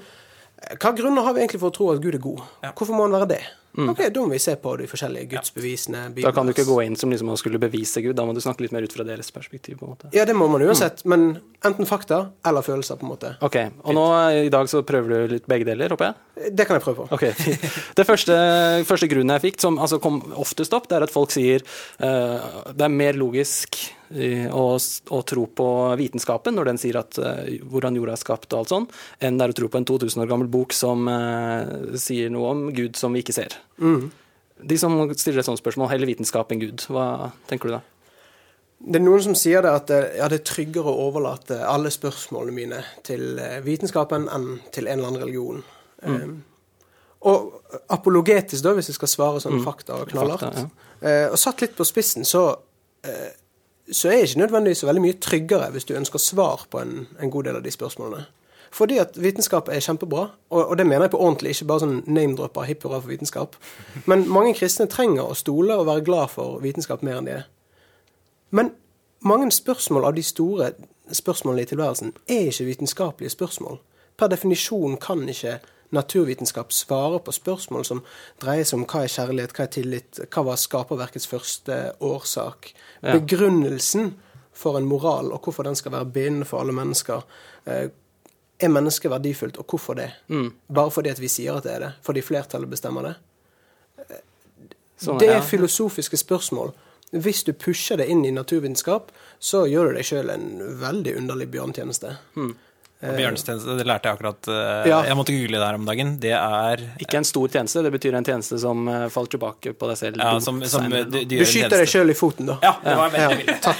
[SPEAKER 4] Hva grunner har vi egentlig for å tro at Gud er god? Hvorfor må han være det? OK, da må vi se på de forskjellige gudsbevisene.
[SPEAKER 2] Da kan du ikke gå inn som liksom man skulle bevise Gud, da må du snakke litt mer ut fra deres perspektiv. på en måte.
[SPEAKER 4] Ja, det må man uansett. Men enten fakta eller følelser, på en måte.
[SPEAKER 2] Ok, og nå eh, i dag så prøver du litt begge deler, håper jeg?
[SPEAKER 4] Det kan jeg prøve på.
[SPEAKER 2] Ok, *laughs* fint. Det første, første grunnen jeg fikk, som altså kom oftest opp, det er at folk sier eh, det er mer logisk eh, å, s- å tro på vitenskapen når den sier at eh, hvordan jorda er skapt og alt sånn, enn det er å tro på en 2000 år gammel bok som eh, sier noe om Gud som vi ikke ser.
[SPEAKER 4] Mm.
[SPEAKER 2] De som stiller et sånt spørsmål, heller vitenskap enn Gud, hva tenker du da?
[SPEAKER 4] Det er noen som sier det at eh, ja, det er tryggere å overlate alle spørsmålene mine til eh, vitenskapen enn til en eller annen religion. Eh, Og apologetisk, da, hvis jeg skal svare sånn fakta og knallhardt
[SPEAKER 2] Fakta,
[SPEAKER 4] eh, Og satt litt på spissen, så, eh, så er ikke nødvendigvis så veldig mye tryggere hvis du ønsker svar på en, en god del av de spørsmålene. Fordi at vitenskap er kjempebra, og, og det mener jeg på ordentlig, ikke bare sånn name-dropper hipp hurra for vitenskap. Men mange kristne trenger å stole og være glad for vitenskap mer enn de er. Men mange spørsmål av de store spørsmålene i tilværelsen er ikke vitenskapelige spørsmål. Per definisjon kan ikke naturvitenskap svare på spørsmål som dreier seg om hva er kjærlighet, hva er tillit, hva var skaperverkets første årsak? Begrunnelsen for en moral, og hvorfor den skal være bindende for alle mennesker. eh, Er mennesket verdifullt, og hvorfor det? Bare fordi at vi sier at det er det? Fordi flertallet bestemmer det?
[SPEAKER 2] Sånn,
[SPEAKER 4] Det
[SPEAKER 2] ja.
[SPEAKER 4] er filosofiske spørsmål. Hvis du pusher det inn i naturvitenskap, så gjør du deg sjøl en veldig underlig bjørnetjeneste.
[SPEAKER 2] Hmm.
[SPEAKER 1] Bjørnstjeneste, eh, det lærte jeg akkurat. eh,
[SPEAKER 4] Ja.
[SPEAKER 1] Jeg måtte google det her om dagen. Det er
[SPEAKER 2] Ikke en stor tjeneste, det betyr en tjeneste som eh, faller tilbake på deg selv.
[SPEAKER 1] ja,
[SPEAKER 2] Du-
[SPEAKER 1] som, som
[SPEAKER 2] senere.
[SPEAKER 1] du, du
[SPEAKER 4] Du
[SPEAKER 1] gjør en
[SPEAKER 4] skyter deg
[SPEAKER 1] tjeneste.
[SPEAKER 4] sjøl i foten, da.
[SPEAKER 1] Ja, det var
[SPEAKER 4] Ja,
[SPEAKER 1] veldig villig.
[SPEAKER 4] takk.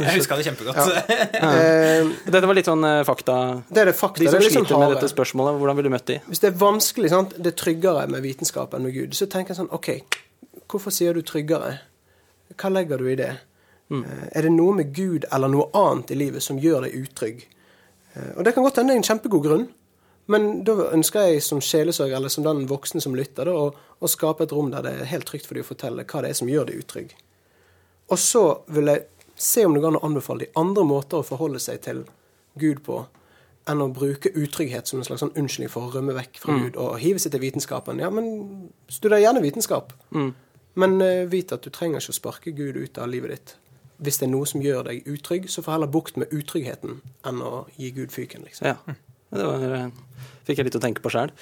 [SPEAKER 1] *laughs* Jeg huska det kjempegodt. *laughs*
[SPEAKER 4] Eh,
[SPEAKER 2] Dette var litt sånn eh, fakta.
[SPEAKER 4] Det er det fakta.
[SPEAKER 2] De
[SPEAKER 4] Det
[SPEAKER 2] som
[SPEAKER 4] er liksom
[SPEAKER 2] sliter med
[SPEAKER 4] harde.
[SPEAKER 2] dette spørsmålet, hvordan ville du møtt de?
[SPEAKER 4] Hvis det er vanskelig, sant? det er tryggere med vitenskap enn med Gud, så tenker jeg sånn OK, hvorfor sier du tryggere? Hva legger du i det? Eh, Er det noe med Gud eller noe annet i livet som gjør deg utrygg? Eh, Og det kan godt hende det er en kjempegod grunn, men da ønsker jeg som sjelesørger, eller som den voksne som lytter, da, å, å skape et rom der det er helt trygt for dem å fortelle hva det er som gjør deg utrygg. Og så vil jeg se om det går an å anbefale de andre måter å forholde seg til Gud på, enn å bruke utrygghet som en slags sånn unnskyldning for å rømme vekk fra Gud og hive seg til vitenskapen. Ja, men studer gjerne vitenskap, men eh, vit at du trenger ikke å sparke Gud ut av livet ditt. Hvis det er noe som gjør deg utrygg, så får heller bukt med utryggheten enn å gi Gud fyken, liksom.
[SPEAKER 2] Ja. Det var, eh, fikk jeg litt å tenke på sjøl.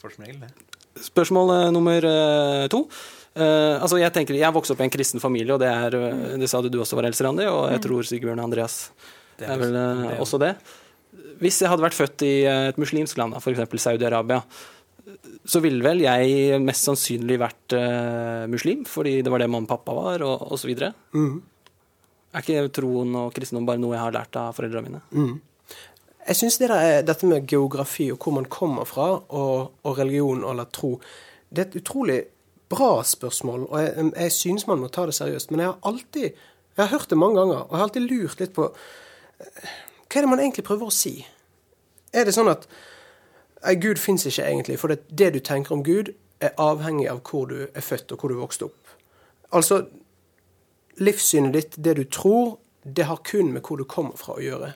[SPEAKER 1] For som regel, det.
[SPEAKER 2] spørsmål eh, nummer eh, to. Eh, altså jeg tenker, jeg vokste opp i en kristen familie, og det er, eh, det sa du du også var, Else Randi, og jeg tror Sigbjørn og Andreas
[SPEAKER 1] Mm. Det
[SPEAKER 2] det
[SPEAKER 1] er
[SPEAKER 2] er vel eh,
[SPEAKER 1] det er-
[SPEAKER 2] også det. Hvis jeg hadde vært født i eh, et muslimsk land, da, f.eks. Saudi-Arabia, så ville vel jeg mest sannsynlig vært eh, muslim, fordi det var det mamma og pappa var, og osv.
[SPEAKER 1] Mm.
[SPEAKER 4] Mhm.
[SPEAKER 2] Er ikke troen og kristendom bare noe jeg har lært av foreldrene mine?
[SPEAKER 4] Jeg syns det der er- dette med geografi og hvor man kommer fra, og, og religion eller tro, det er et utrolig bra spørsmål, og jeg, jeg synes man må ta det seriøst. Men jeg har alltid jeg har hørt det mange ganger, og jeg har alltid lurt litt på eh, Hva er det man egentlig prøver å si? Er det sånn at Nei, Gud fins ikke egentlig, for det, det du tenker om Gud, er avhengig av hvor du er født, og hvor du vokste opp. Altså, livssynet ditt, det du tror, det har kun med hvor du kommer fra å gjøre.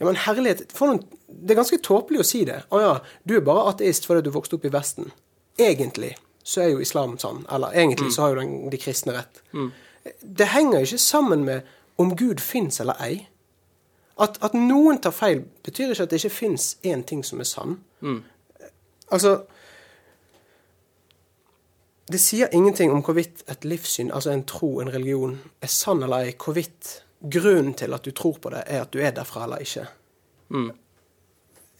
[SPEAKER 4] Ja, men herlighet, for noen, det er ganske tåpelig å si det. Å ja, du er bare ateist fordi du vokste opp i Vesten. Egentlig. så er jo islam sånn. Eller egentlig så har jo den, de kristne rett. Det henger jo ikke sammen med om Gud fins eller ei. At, at noen tar feil, betyr ikke at det ikke fins én ting som er sann.
[SPEAKER 2] Mm.
[SPEAKER 4] Altså Det sier ingenting om hvorvidt et livssyn, altså en tro, en religion, er sann eller ei. Hvorvidt grunnen til at du tror på det, er at du er derfra eller ikke.
[SPEAKER 2] Mm.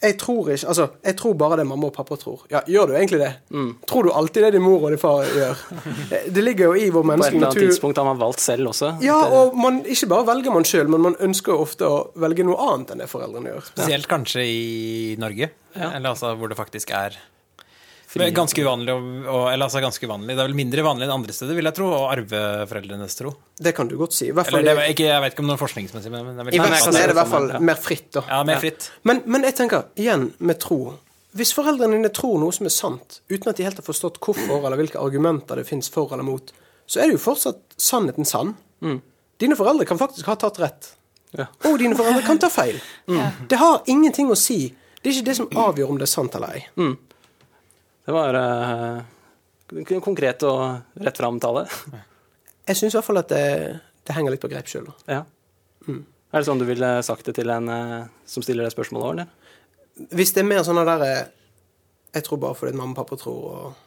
[SPEAKER 4] Jeg tror ikke, altså, jeg tror bare det mamma og pappa tror. Ja, Gjør du egentlig det?
[SPEAKER 2] Mm.
[SPEAKER 4] Tror du alltid det din mor og din far gjør?
[SPEAKER 2] *laughs*
[SPEAKER 4] Det ligger jo i vår
[SPEAKER 2] På et
[SPEAKER 4] menneskelige
[SPEAKER 2] eller annet
[SPEAKER 4] natur.
[SPEAKER 2] tidspunkt har man valgt selv også.
[SPEAKER 4] Ja,
[SPEAKER 2] At det-
[SPEAKER 4] og man, ikke bare velger man sjøl, men man ønsker jo ofte å velge noe annet enn det foreldrene gjør.
[SPEAKER 1] Spesielt kanskje i Norge, eller altså hvor det faktisk er men ganske uvanlig, å- å- eller altså ganske uvanlig. Det er vel mindre vanlig enn andre steder, vil jeg tro, å arve foreldrenes tro.
[SPEAKER 4] Det kan du godt si. I hvert fall,
[SPEAKER 1] Eller det, var ikke, jeg vet ikke om det er forskningsmessig, men det er vel
[SPEAKER 4] i hvert fall
[SPEAKER 1] det
[SPEAKER 4] er det i hvert fall
[SPEAKER 2] Ja.
[SPEAKER 4] mer fritt, da.
[SPEAKER 1] Ja, mer fritt.
[SPEAKER 4] Men, men jeg tenker, igjen med tro Hvis foreldrene dine tror noe som er sant, uten at de helt har forstått hvorfor eller hvilke argumenter det fins for eller mot, så er det jo fortsatt sannheten sann.
[SPEAKER 1] Mm.
[SPEAKER 4] Dine foreldre kan faktisk ha tatt rett.
[SPEAKER 2] Ja.
[SPEAKER 4] Og dine foreldre kan ta feil.
[SPEAKER 1] Mm.
[SPEAKER 4] Det har ingenting å si. Det er ikke det som avgjør om det er sant eller ei.
[SPEAKER 2] Det var eh, kon- konkret og rett fram-tale.
[SPEAKER 4] Jeg syns i hvert fall at det, det henger litt på greip sjøl.
[SPEAKER 2] *laughs* Ja. Er det sånn du ville sagt det til en eh, som stiller det spørsmålet òg, eller?
[SPEAKER 4] Hvis det er mer sånn der eh, Jeg tror bare fordi at mamma og pappa tror og,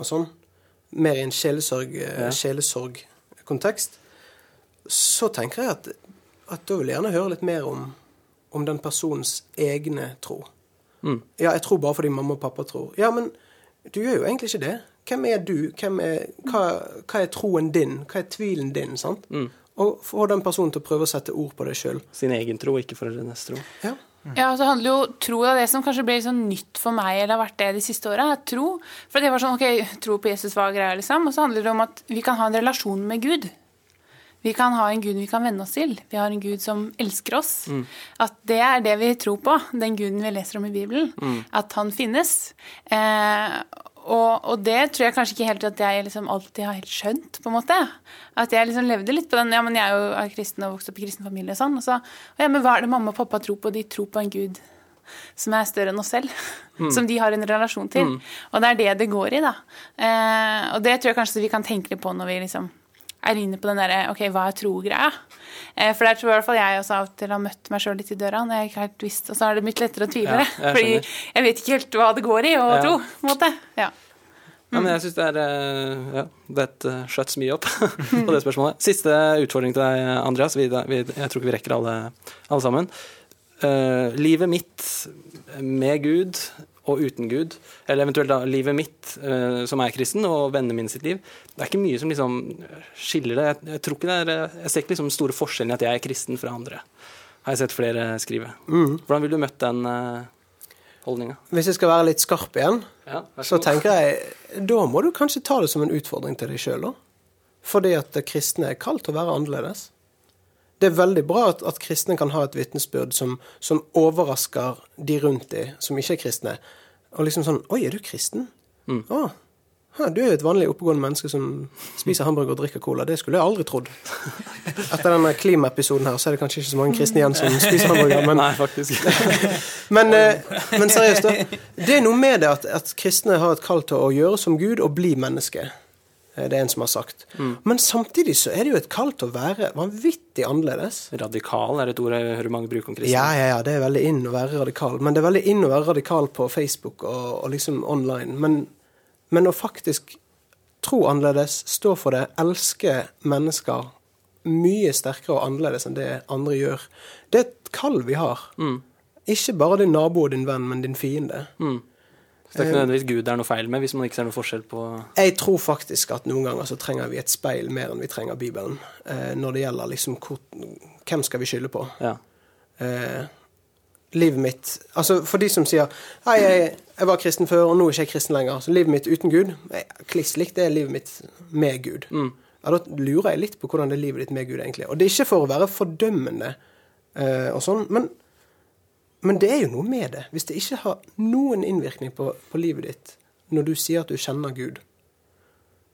[SPEAKER 4] og sånn. Mer i en sjelesorg, eh, sjelesorgkontekst. Så tenker jeg at, at da vil jeg gjerne høre litt mer om, om den personens egne tro.
[SPEAKER 2] Mm.
[SPEAKER 4] Ja, jeg tror bare fordi mamma og pappa tror. Ja, men du gjør jo egentlig ikke det. Hvem er du? Hvem er, hva, hva er troen din? Hva er tvilen din? sant? Og få den personen til å prøve å sette ord på det sjøl.
[SPEAKER 2] Sin egen tro, ikke foreldrenes tro.
[SPEAKER 4] Ja.
[SPEAKER 3] Ja, så handler jo tro av det som kanskje ble litt sånn nytt for meg, eller har vært det de siste åra, er tro. For det var sånn, ok, tro på Jesus var greia, liksom. Og så handler det om at vi kan ha en relasjon med Gud. Vi kan ha en Gud vi kan venne oss til. Vi har en Gud som elsker oss. At det er det vi tror på, den Guden vi leser om i Bibelen. At han finnes. Eh, og, og det tror jeg kanskje ikke helt at jeg liksom alltid har helt skjønt, på en måte. At jeg liksom levde litt på den Ja, men jeg er jo er kristen og vokste opp i kristen familie og sånn. Og så «Å Ja, men hva er det mamma og pappa tror på? De tror på en Gud som er større enn oss selv. *laughs* Som de har en relasjon til. Og det er det det går i, da. Eh, og det tror jeg kanskje vi kan tenke litt på når vi liksom er inne på den derre OK, hva er tro-greia? Eh, for der tror jeg i hvert fall jeg også av og til har møtt meg sjøl litt i døra når jeg ikke helt visste, og så er det blitt lettere å tvile.
[SPEAKER 2] Ja, jeg
[SPEAKER 3] *laughs* fordi
[SPEAKER 2] skjønner.
[SPEAKER 3] jeg vet ikke helt hva det går i å
[SPEAKER 2] Ja.
[SPEAKER 3] tro, på en måte. Ja.
[SPEAKER 2] Ja,
[SPEAKER 4] Mm.
[SPEAKER 2] men jeg syns det er eh, Ja, that eh, shuts me
[SPEAKER 4] *laughs*
[SPEAKER 2] up *laughs* på det spørsmålet. Siste utfordring til deg, Andreas. Vi, vi, jeg tror ikke vi rekker alle, alle sammen. Eh, livet mitt med Gud og uten Gud, eller eventuelt da livet mitt eh, som er kristen, og vennene mine sitt liv, det er ikke mye som liksom skiller det. Jeg, jeg tror ikke det er eh, Jeg ser ikke liksom store forskjellen i at jeg er kristen fra andre. Har jeg sett flere skrive.
[SPEAKER 4] Mm.
[SPEAKER 2] Hvordan ville du møtt den uh, holdninga?
[SPEAKER 4] Hvis jeg skal være litt skarp igjen,
[SPEAKER 2] Ja, vær så
[SPEAKER 4] Så
[SPEAKER 2] god.
[SPEAKER 4] tenker jeg, da må du kanskje ta det som en utfordring til deg sjøl, da. Fordi at det kristne er kaldt å være annerledes. Det er veldig bra at, at kristne kan ha et vitnesbyrd som, som overrasker de rundt de som ikke er kristne. Og liksom sånn Oi, er du kristen?
[SPEAKER 2] Mm.
[SPEAKER 4] Å, hæ, du er jo et vanlig oppegående menneske som spiser hamburger og drikker cola. Det skulle jeg aldri
[SPEAKER 2] *laughs*
[SPEAKER 4] trodd. Etter denne klimaepisoden her, så er det kanskje ikke så mange kristne igjen som spiser hamburger. Men,
[SPEAKER 2] *laughs* Nei, faktisk.
[SPEAKER 4] *laughs* men, eh, men seriøst, da. Det er noe med det at, at kristne har et kall til å gjøre som Gud og bli menneske. Eh, Det er en som har sagt. Men samtidig så er det jo et kall til å være vanvittig annerledes.
[SPEAKER 2] Radikal er et ord jeg hører mange bruke om kristne.
[SPEAKER 4] Ja, ja, ja, det er veldig inn å være radikal. Men det er veldig inn å være radikal på Facebook og, og liksom online. Men, men å faktisk tro annerledes, stå for det, elske mennesker mye sterkere og annerledes enn det andre gjør, det er et kall vi har. Ikke bare din nabo og din venn, men din fiende.
[SPEAKER 2] Så det er
[SPEAKER 4] eh,
[SPEAKER 2] ikke nødvendigvis Gud det er noe feil med, hvis man ikke ser noe forskjell på
[SPEAKER 4] Jeg tror faktisk at noen ganger så trenger vi et speil mer enn vi trenger Bibelen. Eh, når det gjelder liksom hvor, hvem skal vi skylde på.
[SPEAKER 2] ja.
[SPEAKER 4] eh, livet mitt Altså for de som sier Hei, jeg, jeg var kristen før, og nå er ikke jeg kristen lenger. Så livet mitt uten Gud eh, Kliss likt det er livet mitt med Gud. Ja, da lurer jeg litt på hvordan det er livet ditt med Gud egentlig er. Og det er ikke for å være fordømmende eh, og sånn, men, men det er jo noe med det. Hvis det ikke har noen innvirkning på, på livet ditt når du sier at du kjenner Gud,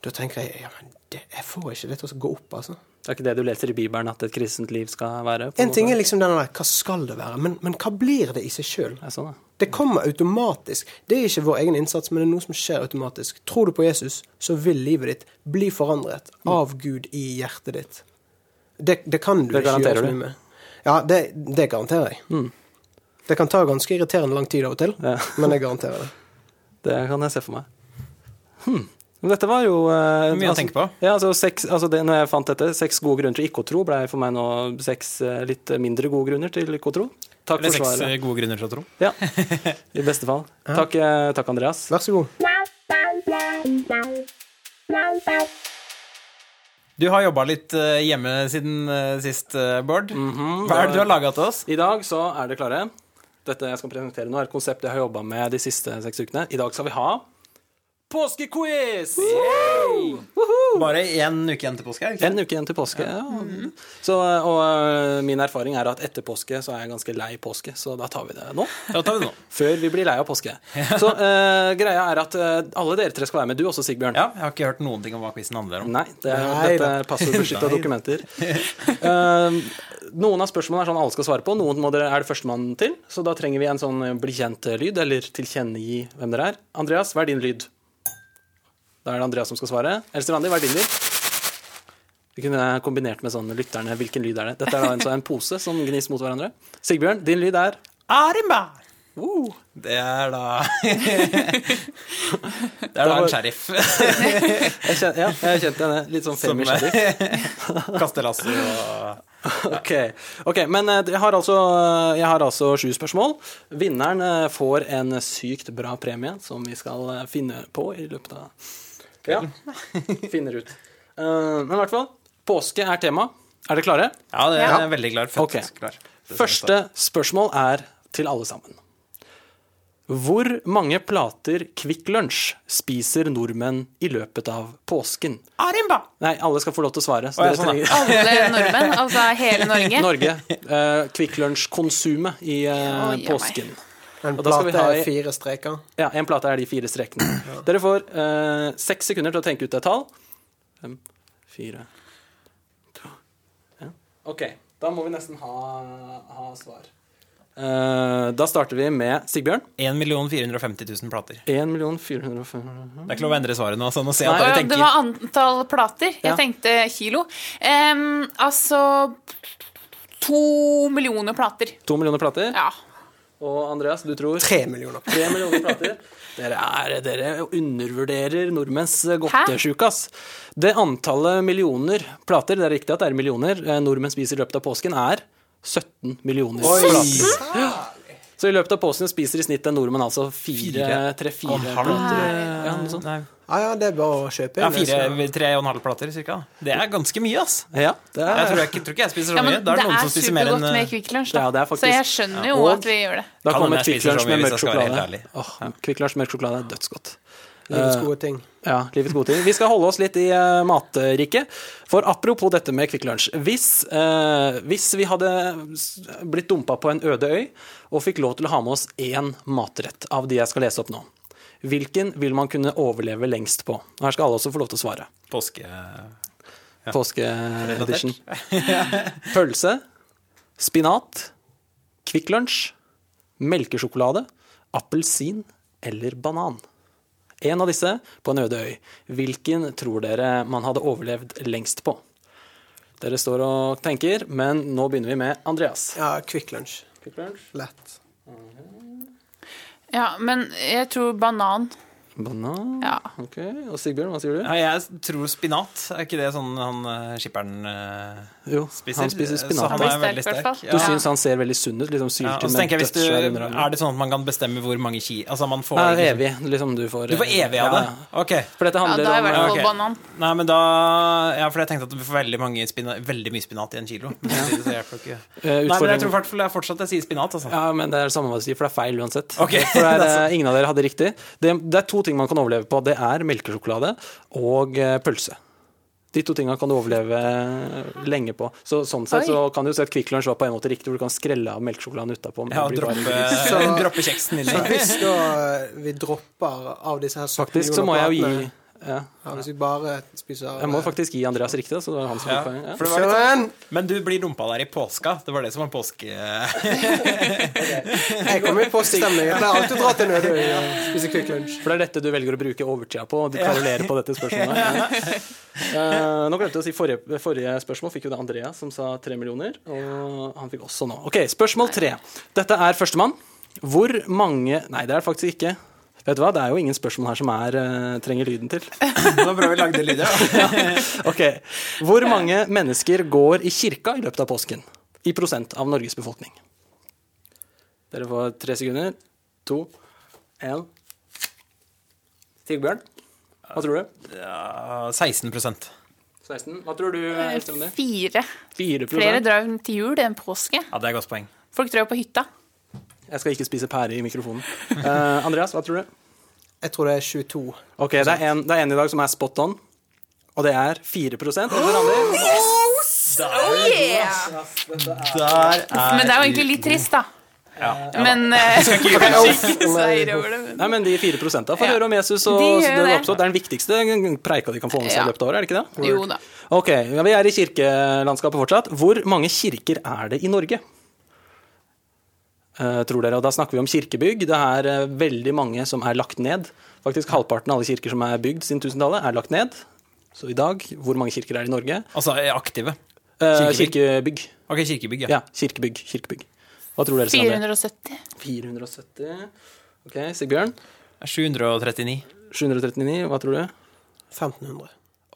[SPEAKER 4] da tenker jeg ja, men det, jeg får ikke det til å gå opp, altså.
[SPEAKER 2] Det er ikke det du leser i Bibelen at et kristent liv skal være? på
[SPEAKER 4] En ting
[SPEAKER 2] måte.
[SPEAKER 4] er liksom den der Hva skal det være? Men, men hva blir det i seg sjøl?
[SPEAKER 2] Ja, sånn, ja.
[SPEAKER 4] Det Det kommer automatisk. Det er ikke vår egen innsats, men det er noe som skjer automatisk. Tror du på Jesus, så vil livet ditt bli forandret av Gud i hjertet ditt. Det, det kan du
[SPEAKER 2] Det
[SPEAKER 4] ikke
[SPEAKER 2] garanterer
[SPEAKER 4] gjøre så
[SPEAKER 2] du.
[SPEAKER 4] mye med. Ja, det, det garanterer jeg. Mm. Det kan ta ganske irriterende lang tid av og til,
[SPEAKER 2] Ja.
[SPEAKER 4] men jeg garanterer det.
[SPEAKER 2] Det kan jeg se for meg. Hmm. Men dette var jo eh,
[SPEAKER 1] Mye å tenke på.
[SPEAKER 2] Ja, altså, seks, altså det, når jeg fant dette, seks gode grunner til ikke å tro, ble for meg nå seks eh, litt mindre gode grunner til ikke å tro. Takk
[SPEAKER 1] Eller
[SPEAKER 2] for
[SPEAKER 1] seks
[SPEAKER 2] svaret.
[SPEAKER 1] eh, gode grunner til å tro.
[SPEAKER 2] Ja, I beste
[SPEAKER 4] *laughs*
[SPEAKER 2] fall. Takk, eh, takk Andreas.
[SPEAKER 4] Vær så god.
[SPEAKER 1] Du har jobba litt eh, hjemme siden eh, sist, eh, Bård.
[SPEAKER 4] Mhm,
[SPEAKER 1] Hva er det du har laga til oss?
[SPEAKER 2] I dag så er det klare. Dette jeg skal presentere nå, er et konsept jeg har jobba med de siste seks ukene. I dag skal vi ha påskequiz!
[SPEAKER 1] Bare én uke igjen til påske? er det ikke?
[SPEAKER 2] En uke igjen til påske. Ja. Så, og øh, min erfaring er at etter påske så er jeg ganske lei påske, så da tar vi det nå.
[SPEAKER 1] Da tar vi det nå.
[SPEAKER 2] Før vi blir lei av påske. Så øh, greia er at øh, alle dere tre skal være med. Du også, Sigbjørn.
[SPEAKER 1] Ja, jeg har ikke hørt noen ting om hva quizen handler om.
[SPEAKER 2] Nei, det er,
[SPEAKER 4] Nei
[SPEAKER 2] dette
[SPEAKER 4] da.
[SPEAKER 2] er
[SPEAKER 4] *laughs*
[SPEAKER 2] passordbeskytta dokumenter. Eh, noen av spørsmålene er sånn alle skal svare på, noen må dere, er det førstemann til. Så da trenger vi en sånn eh, bli kjent-lyd, eller tilkjennegi hvem dere er. Andreas, hva er din lyd? Da er det Andreas som skal svare. Else Randi, hva er din lyd? Vi kunne kombinert med sånn lytterne, hvilken lyd er det? Dette er da en, sånn- en pose som gnis mot hverandre. Sigbjørn, din lyd er
[SPEAKER 1] Arimba!
[SPEAKER 2] uh,
[SPEAKER 1] Det er da Det er da en sheriff
[SPEAKER 2] jeg kjen- Ja, jeg kjente henne. Litt sånn
[SPEAKER 1] som
[SPEAKER 2] femi sheriff.
[SPEAKER 1] *laughs* kaster lasso og
[SPEAKER 2] *laughs* Ok, ok, men eh, jeg har, altså, jeg har altså sju spørsmål. Vinneren eh, får en sykt bra premie som vi skal eh, finne på i løpet av Ja, *laughs* finner ut. Eh, Men i hvert fall, påske er tema. Er dere klare?
[SPEAKER 1] Ja, det er
[SPEAKER 3] Ja.
[SPEAKER 1] jeg veldig klar. Født,
[SPEAKER 2] Ok.
[SPEAKER 1] klar. Det
[SPEAKER 2] Første spørsmål er til alle sammen. Hvor mange plater Kvikk Lunsj spiser nordmenn i løpet av påsken?
[SPEAKER 1] Arimba!
[SPEAKER 2] Nei, alle skal få lov til å svare. Så
[SPEAKER 1] Å, ja,
[SPEAKER 2] dere
[SPEAKER 1] sånn,
[SPEAKER 2] trenger...
[SPEAKER 1] ja.
[SPEAKER 3] Alle nordmenn, altså
[SPEAKER 2] *laughs*
[SPEAKER 3] hele Norge.
[SPEAKER 2] Norge. Uh, Kvikk Lunsj-konsumet i eh,
[SPEAKER 3] Oi, oi, oi.
[SPEAKER 2] påsken.
[SPEAKER 4] En
[SPEAKER 2] Og da skal vi
[SPEAKER 4] plate
[SPEAKER 2] ha
[SPEAKER 4] er
[SPEAKER 2] i-
[SPEAKER 4] fire streker.
[SPEAKER 2] Ja, en plate er de fire strekene. Dere får eh, seks sekunder til å tenke ut et tall. Fem, fire to, en. OK. Da må vi nesten ha, ha svar. Eh, da starter vi med Sigbjørn.
[SPEAKER 1] 1 450 000 plater.
[SPEAKER 2] 1 450
[SPEAKER 1] Det er ikke lov å endre svaret nå, så nå ser
[SPEAKER 2] Nei.
[SPEAKER 1] jeg at dere
[SPEAKER 3] Å, Eh, Det
[SPEAKER 1] tenker.
[SPEAKER 3] var antall plater. Jeg
[SPEAKER 2] Ja.
[SPEAKER 3] tenkte kilo. Em, altså To millioner plater.
[SPEAKER 2] 2 millioner plater.
[SPEAKER 3] Ja.
[SPEAKER 2] Og Andreas, du tror
[SPEAKER 4] Tre millioner.
[SPEAKER 2] 3 millioner plater. Dere, er, dere undervurderer nordmenns godtesjuke, ass. Det antallet millioner plater, det er riktig at det er millioner, eh, nordmenn spiser i løpet av påsken, er 17 millioner plater. Så i løpet av påsken spiser i snitt en nordmann altså fire,
[SPEAKER 1] Fire.
[SPEAKER 2] tre-fire
[SPEAKER 1] Og en halv.
[SPEAKER 2] plater. Ja, noe sånt.
[SPEAKER 1] Nei.
[SPEAKER 4] Ja, ja, det er bare å kjøpe
[SPEAKER 1] Ja,
[SPEAKER 4] inn. altså.
[SPEAKER 1] fire, tre og en halv plater, cirka. Det er ganske mye, ass.
[SPEAKER 2] Ja, det
[SPEAKER 1] Jeg
[SPEAKER 2] er
[SPEAKER 1] tror ikke, tror ikke jeg spiser
[SPEAKER 3] ja
[SPEAKER 1] så mye. Da
[SPEAKER 3] men det
[SPEAKER 1] er det noen
[SPEAKER 3] er
[SPEAKER 1] som spiser mer
[SPEAKER 3] supergodt
[SPEAKER 1] enn
[SPEAKER 3] med
[SPEAKER 1] eh,
[SPEAKER 3] Kvikk Lunsj,
[SPEAKER 2] Ja, det
[SPEAKER 3] da.
[SPEAKER 2] er faktisk-
[SPEAKER 3] Så jeg skjønner
[SPEAKER 2] Ja,
[SPEAKER 3] jo
[SPEAKER 2] og-
[SPEAKER 3] at vi gjør
[SPEAKER 2] Da
[SPEAKER 3] det.
[SPEAKER 1] Kan hende
[SPEAKER 2] kommer
[SPEAKER 1] jeg
[SPEAKER 2] Kvikk
[SPEAKER 1] spiser så mye
[SPEAKER 2] Lunsj med
[SPEAKER 1] hvis
[SPEAKER 2] mørk
[SPEAKER 1] jeg skal være helt
[SPEAKER 2] sjokolade.
[SPEAKER 1] ærlig.
[SPEAKER 2] Åh, Kvikk Lunsj med mørk sjokolade er dødsgodt.
[SPEAKER 4] Livets gode ting.
[SPEAKER 2] Ja, livets gode ting. Vi skal holde oss litt i uh, matriket. For apropos dette med Kvikk Lunsj. Hvis, eh, hvis vi hadde s- blitt dumpa på en øde øy og fikk lov til å ha med oss én matrett av de jeg skal lese opp nå, hvilken vil man kunne overleve lengst på? Og Her skal alle også få lov til å svare.
[SPEAKER 1] påske...
[SPEAKER 2] Påskeedition. *laughs* Pølse, spinat, Kvikk Lunsj, melkesjokolade, appelsin eller banan. En av disse på en øde øy. Hvilken tror dere man hadde overlevd lengst på? Dere står og tenker, men nå begynner vi med Andreas.
[SPEAKER 4] Ja, Kvikk Lunsj. Lett.
[SPEAKER 3] Ja, men jeg tror banan.
[SPEAKER 2] Banan.
[SPEAKER 3] Ja.
[SPEAKER 2] Ok, Og Sigbjørn, hva sier du?
[SPEAKER 1] Ja, jeg tror spinat. Er ikke det sånn han eh, skipperen eh,
[SPEAKER 2] Jo,
[SPEAKER 1] spiser?
[SPEAKER 2] han spiser
[SPEAKER 1] Så han
[SPEAKER 2] spinat.
[SPEAKER 3] blir
[SPEAKER 1] er veldig
[SPEAKER 3] sterk, i hvert
[SPEAKER 1] sterk.
[SPEAKER 3] fall.
[SPEAKER 2] Du
[SPEAKER 1] Ja.
[SPEAKER 2] syns han ser veldig sunn ut? Liksom
[SPEAKER 1] Ja, og
[SPEAKER 2] syltynn
[SPEAKER 1] så
[SPEAKER 2] med
[SPEAKER 1] tenker jeg, hvis du,
[SPEAKER 2] dødsskjær under
[SPEAKER 1] Er
[SPEAKER 2] armen.
[SPEAKER 1] det sånn at man kan bestemme hvor mange ki... Altså, man får
[SPEAKER 2] Nei,
[SPEAKER 1] liksom-
[SPEAKER 2] evig. Liksom du får
[SPEAKER 1] Du får evig av det?
[SPEAKER 2] Ja, ja.
[SPEAKER 1] Ok.
[SPEAKER 2] For dette
[SPEAKER 3] Ja,
[SPEAKER 2] handler
[SPEAKER 3] da er i
[SPEAKER 2] om
[SPEAKER 3] hvert
[SPEAKER 1] ja,
[SPEAKER 3] fall
[SPEAKER 1] ok.
[SPEAKER 3] banan.
[SPEAKER 1] Nei, men da Ja, for jeg tenkte at du får veldig, mange spina, veldig mye spinat i en kilo. Men samtidig så hjelper det ikke.
[SPEAKER 2] eh,
[SPEAKER 1] Nei, men jeg
[SPEAKER 2] utfordringen
[SPEAKER 1] tror i hvert fall jeg fortsatt jeg sier spinat, altså.
[SPEAKER 2] Ja, men det er det samme hva du sier, for det er feil uansett.
[SPEAKER 1] Ok,
[SPEAKER 2] *laughs*
[SPEAKER 1] *laughs*
[SPEAKER 2] For det er, ingen av dere hadde riktig. Det, det er to ting man kan overleve på. Det er melkesjokolade og eh, pølse. De to tinga kan du overleve eh, lenge på. Så sånn sett
[SPEAKER 3] Oi.
[SPEAKER 2] så kan du jo si at Kvikk Lunsj var på en måte riktig, hvor du kan skrelle av melkesjokoladen utapå. men
[SPEAKER 1] Ja,
[SPEAKER 2] det blir bare-
[SPEAKER 1] droppe,
[SPEAKER 4] Så-
[SPEAKER 1] *laughs*
[SPEAKER 2] *laughs*
[SPEAKER 1] droppe kjeksen inni.
[SPEAKER 4] Så hvis da eh, vi dropper av disse her 17
[SPEAKER 2] Faktisk så må jeg jo gi
[SPEAKER 4] millioner platene,
[SPEAKER 2] Ja.
[SPEAKER 4] Ja, hvis vi bare spiser
[SPEAKER 2] Jeg må faktisk gi Andreas riktig, da, så det var han som
[SPEAKER 1] Ja,
[SPEAKER 2] fikk poeng. Ja.
[SPEAKER 1] for det var litt sånn-
[SPEAKER 4] Søren!
[SPEAKER 1] Men du blir dumpa der i påska. Det var det som var påske... *laughs*
[SPEAKER 4] Jeg kommer i poststemning. Jeg pleier alltid å dra til Nødøy og spise Quick Lunch.
[SPEAKER 2] For det er dette du velger å bruke overtida på, og du kvarulerer på dette spørsmålet. Ja. Eh, nå glemte jeg å si forrige, forrige spørsmål fikk jo da Andreas, som sa tre millioner. Og han fikk også nå. Ok, spørsmål tre. Dette er førstemann. Hvor mange Nei, det er det faktisk ikke. Vet du hva, det er jo ingen spørsmål her som er, eh, trenger lyden til.
[SPEAKER 1] Nå prøver vi å lage det lydet. da.
[SPEAKER 2] Ok, Hvor mange mennesker går i kirka i løpet av påsken? I prosent av Norges befolkning. Dere får tre sekunder. To, én Sigbjørn, hva tror du?
[SPEAKER 1] Ja, 16 Ja,
[SPEAKER 2] 16. Hva tror du, Ester, om det?
[SPEAKER 3] Fire.
[SPEAKER 2] 4
[SPEAKER 3] Eh, Flere drar jo til jul enn påske.
[SPEAKER 1] det er et godt poeng.
[SPEAKER 3] Folk drar jo på hytta.
[SPEAKER 2] Jeg skal ikke spise pære i mikrofonen. Eh, Andreas, hva tror du?
[SPEAKER 4] Jeg tror det er 22.
[SPEAKER 2] Ok, det er, en, det er en i dag som er spot on, og det er 4 Er det Randi?
[SPEAKER 1] Der er
[SPEAKER 3] Oh, Men det er jo egentlig litt trist, da.
[SPEAKER 2] *laughs*
[SPEAKER 3] Men eh, *laughs* seier over det. men-
[SPEAKER 2] Nei, men de 4 får
[SPEAKER 3] Ja.
[SPEAKER 2] høre om Jesus og
[SPEAKER 3] De gjør
[SPEAKER 2] den
[SPEAKER 3] det.
[SPEAKER 2] oppstått. Det er den viktigste preika de kan få med seg i
[SPEAKER 3] Ja.
[SPEAKER 2] løpet av året, er det ikke det?
[SPEAKER 3] Jo da.
[SPEAKER 2] Ok, ja, vi er i kirkelandskapet fortsatt. Hvor mange kirker er det i Norge? Eh, tror dere, og Da snakker vi om kirkebygg. Det er eh, veldig mange som er lagt ned. Faktisk halvparten av alle kirker som er bygd siden tusentallet, er lagt ned. Så i dag, hvor mange kirker er det i Norge?
[SPEAKER 1] Altså aktive.
[SPEAKER 2] Eh,
[SPEAKER 1] Kirkebygg.
[SPEAKER 2] kirkebygg.
[SPEAKER 1] Ok, kirkebygg, ja.
[SPEAKER 2] Ja, kirkebygg. kirkebygg. Hva tror dere, Sandra?
[SPEAKER 3] 470.
[SPEAKER 2] 470. Ok, Sigbjørn.
[SPEAKER 1] 739.
[SPEAKER 2] 739. Hva tror du?
[SPEAKER 4] 1500.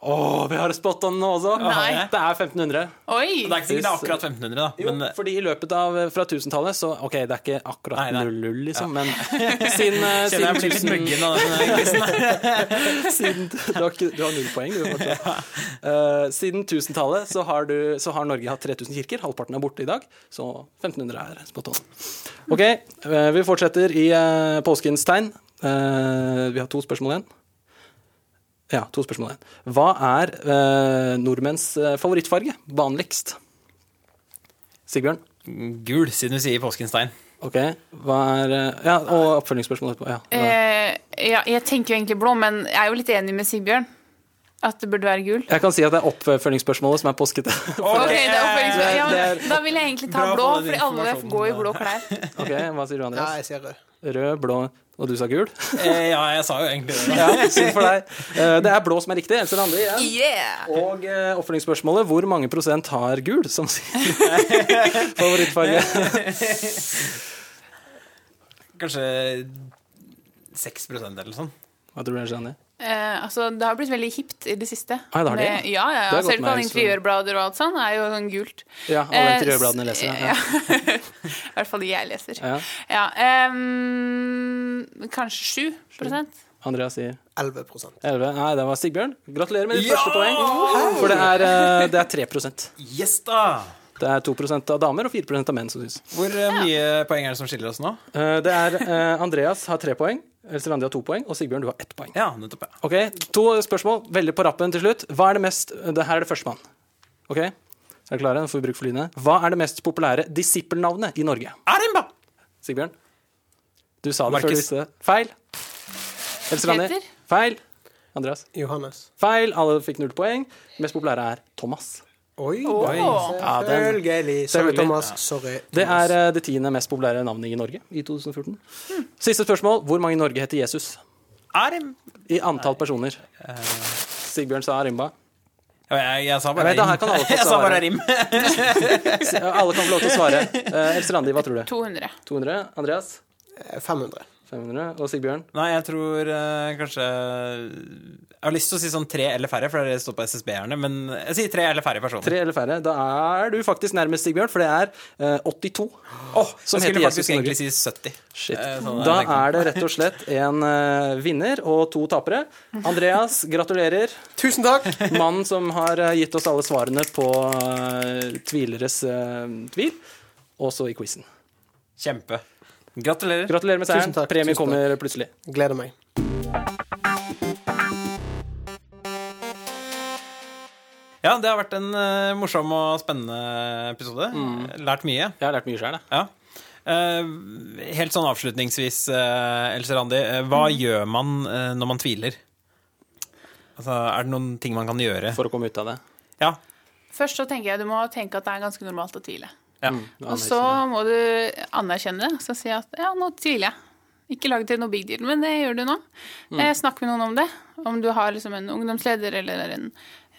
[SPEAKER 2] Å, vi har spot on nå også!
[SPEAKER 3] Nei.
[SPEAKER 2] Det er 1500.
[SPEAKER 1] Det er
[SPEAKER 3] Oi!
[SPEAKER 1] ikke sikkert det er akkurat 1500, da.
[SPEAKER 2] Jo,
[SPEAKER 1] Men eh,
[SPEAKER 2] fordi i løpet av fra 1000-tallet så Ok, det er ikke akkurat
[SPEAKER 1] Nei, nei.
[SPEAKER 2] 00,
[SPEAKER 1] *laughs*
[SPEAKER 2] liksom, men *laughs* siden, eh,
[SPEAKER 1] kjenner jeg blir litt
[SPEAKER 2] siden,
[SPEAKER 1] muggen av den eh, quizen.
[SPEAKER 2] *laughs* siden du, har ikke, du har null
[SPEAKER 1] *laughs*
[SPEAKER 2] poeng, du. fortsatt. Eh, siden 1000-tallet så, har du- så har Norge hatt 3000 kirker. Halvparten er borte i dag, så 1500 er spot on. Ok, eh, vi fortsetter i eh, påskens tegn. Eh, vi har to spørsmål igjen. Ja, to spørsmål igjen. Hva er eh, nordmenns eh, favorittfarge vanligst? Sigbjørn?
[SPEAKER 1] *laughs* Gul, siden du sier påskens *laughs* tegn.
[SPEAKER 2] Ok, hva er eh, Ja, og oppfølgingsspørsmål etterpå. Ja, hva-
[SPEAKER 3] Eh, ja, jeg tenker jo egentlig blå, men jeg er jo litt enig med Sigbjørn. At det burde være
[SPEAKER 2] *laughs*
[SPEAKER 3] gul.
[SPEAKER 2] Jeg kan si at det er oppfølgingsspørsmålet som er
[SPEAKER 3] *laughs*
[SPEAKER 2] påskete.
[SPEAKER 3] Ok, det er oppfølgingsspørsmål.
[SPEAKER 1] eh,
[SPEAKER 3] Ja,
[SPEAKER 2] Det
[SPEAKER 3] men
[SPEAKER 2] er-
[SPEAKER 3] da vil jeg egentlig ta
[SPEAKER 1] Bra
[SPEAKER 3] blå,
[SPEAKER 1] for den
[SPEAKER 3] fordi alle
[SPEAKER 1] informasjonen,
[SPEAKER 3] går i
[SPEAKER 1] da.
[SPEAKER 3] blå
[SPEAKER 2] *laughs*
[SPEAKER 3] klær.
[SPEAKER 2] Ok, Hva sier du,
[SPEAKER 4] Ja,
[SPEAKER 2] Andreas?
[SPEAKER 4] jeg ser rød.
[SPEAKER 2] Rød, blå, og du sa
[SPEAKER 3] *laughs*
[SPEAKER 2] gul?
[SPEAKER 1] Eh, ja, jeg sa jo egentlig det. da.
[SPEAKER 2] Ja, synd for deg. Eh, Det er blå som er riktig. Else Randi igjen.
[SPEAKER 3] Yeah!
[SPEAKER 2] Og eh, oppfølgingsspørsmålet hvor mange prosent har gul som sin *laughs* favorittfarge?
[SPEAKER 3] *laughs*
[SPEAKER 1] Kanskje 6 eller sånn.
[SPEAKER 2] Hva tror du, Else Randi?
[SPEAKER 3] Eh, altså, det har blitt veldig hipt i det siste.
[SPEAKER 2] Ah, det har det,
[SPEAKER 3] Med-
[SPEAKER 2] ja.
[SPEAKER 3] ja, ja,
[SPEAKER 2] Det
[SPEAKER 3] ja.
[SPEAKER 2] har gått
[SPEAKER 3] Ser du på
[SPEAKER 2] meg
[SPEAKER 3] alle
[SPEAKER 2] så-
[SPEAKER 3] interiørblader og alt sånn, er jo sånn gult.
[SPEAKER 2] Ja, alle
[SPEAKER 3] Eh,
[SPEAKER 2] interiørbladene leser.
[SPEAKER 3] s-
[SPEAKER 2] Ja.
[SPEAKER 3] *laughs* I hvert fall de jeg leser.
[SPEAKER 2] Ja.
[SPEAKER 3] Ja, ehm, kanskje 7
[SPEAKER 2] Andreas sier
[SPEAKER 4] 11
[SPEAKER 2] 11. Nei, det var Sigbjørn. Gratulerer med ditt
[SPEAKER 1] Ja!
[SPEAKER 2] første poeng. For det er, eh, det er 3
[SPEAKER 1] Yes, da!
[SPEAKER 2] Det er 2 av damer og 4 av menn som syns.
[SPEAKER 1] Hvor eh, mye poeng er det som skiller oss nå?
[SPEAKER 2] Eh, Det er eh, Andreas har tre poeng, Else Randi har to poeng, og Sigbjørn, du har ett poeng.
[SPEAKER 1] Ja, nettopp. ja.
[SPEAKER 2] Ok, To spørsmål, veldig på rappen til slutt. Hva er det mest eh, det Her er det førstemann. Ok, er dere klare? Nå får vi bruke flyene. Hva er det mest populære disippelnavnet i Norge?
[SPEAKER 1] Arimba!
[SPEAKER 2] Sigbjørn? Du sa det før du
[SPEAKER 1] Markus.
[SPEAKER 2] visste det. Feil. Else Randi?
[SPEAKER 3] Peter?
[SPEAKER 2] Feil. Andreas?
[SPEAKER 4] Johannes.
[SPEAKER 2] Feil. Alle fikk null poeng. Mest populære er Thomas.
[SPEAKER 4] Oi,
[SPEAKER 3] Åh.
[SPEAKER 2] Ja, den-
[SPEAKER 4] selvfølgelig. Sorry,
[SPEAKER 2] Selvfølgelig.
[SPEAKER 4] Thomas. Sorry.
[SPEAKER 2] Det er eh, det tiende mest populære navnet i Norge i 2014. Siste spørsmål. Hvor mange i Norge heter Jesus?
[SPEAKER 1] Arim...
[SPEAKER 2] I antall personer. Sigbjørn sa Arimba.
[SPEAKER 1] Ja, Jeg, jeg sa bare
[SPEAKER 2] Jeg vet det, her kan
[SPEAKER 1] rim.
[SPEAKER 2] alle
[SPEAKER 1] *laughs*
[SPEAKER 2] få
[SPEAKER 1] Jeg sa
[SPEAKER 2] svare.
[SPEAKER 1] bare rim.
[SPEAKER 2] Ja, Alle kan få lov til å svare. Eh, Else Randi, hva tror du?
[SPEAKER 3] 200.
[SPEAKER 2] 200? Andreas?
[SPEAKER 4] Eh, 500.
[SPEAKER 2] 500? Og Sigbjørn?
[SPEAKER 1] Nei, jeg tror eh, kanskje Jeg har lyst til å si sånn tre eller færre, for det står på SSB-erne, men jeg sier tre eller færre personer.
[SPEAKER 2] Tre eller færre? Da er du faktisk nærmest, Sigbjørn, for det er eh, 82.
[SPEAKER 1] Åh,
[SPEAKER 2] Som
[SPEAKER 1] jeg skulle
[SPEAKER 2] heter Jesus
[SPEAKER 1] faktisk
[SPEAKER 2] i
[SPEAKER 1] egentlig si 70.
[SPEAKER 2] Shit.
[SPEAKER 1] Eh, sånn,
[SPEAKER 2] Da
[SPEAKER 1] jeg tenkte.
[SPEAKER 2] er det rett og slett en eh, vinner og to tapere. Andreas, gratulerer.
[SPEAKER 4] Tusen takk!
[SPEAKER 2] Mannen som har eh, gitt oss alle svarene på eh, tvileres eh, tvil. Også i quizen.
[SPEAKER 1] Kjempe. Gratulerer.
[SPEAKER 2] Gratulerer med
[SPEAKER 4] Tusen
[SPEAKER 2] seieren.
[SPEAKER 4] takk,
[SPEAKER 2] Premien
[SPEAKER 4] tusen
[SPEAKER 2] kommer
[SPEAKER 4] takk.
[SPEAKER 2] plutselig.
[SPEAKER 4] Gleder meg.
[SPEAKER 1] Ja, det har vært en eh, morsom og spennende episode.
[SPEAKER 3] Mm.
[SPEAKER 1] Lært mye.
[SPEAKER 2] Jeg har lært mye sjøl, jeg.
[SPEAKER 1] Ja. Eh, helt sånn
[SPEAKER 3] Mm.
[SPEAKER 1] avslutningsvis, eh, Else Randi. eh, hva gjør man eh, når man tviler? Altså, er det noen ting man kan gjøre?
[SPEAKER 2] for å komme ut av det.
[SPEAKER 1] Ja.
[SPEAKER 3] Først så tenker jeg du må tenke at det er ganske normalt å tvile.
[SPEAKER 1] ja.
[SPEAKER 2] Mm.
[SPEAKER 3] Og så må du anerkjenne det. Så si at ja, nå tviler jeg. Ikke lag det til noe big deal, men det gjør du nå.
[SPEAKER 2] Mm.
[SPEAKER 3] Eh, snakk med noen om det. Om du har liksom en ungdomsleder eller en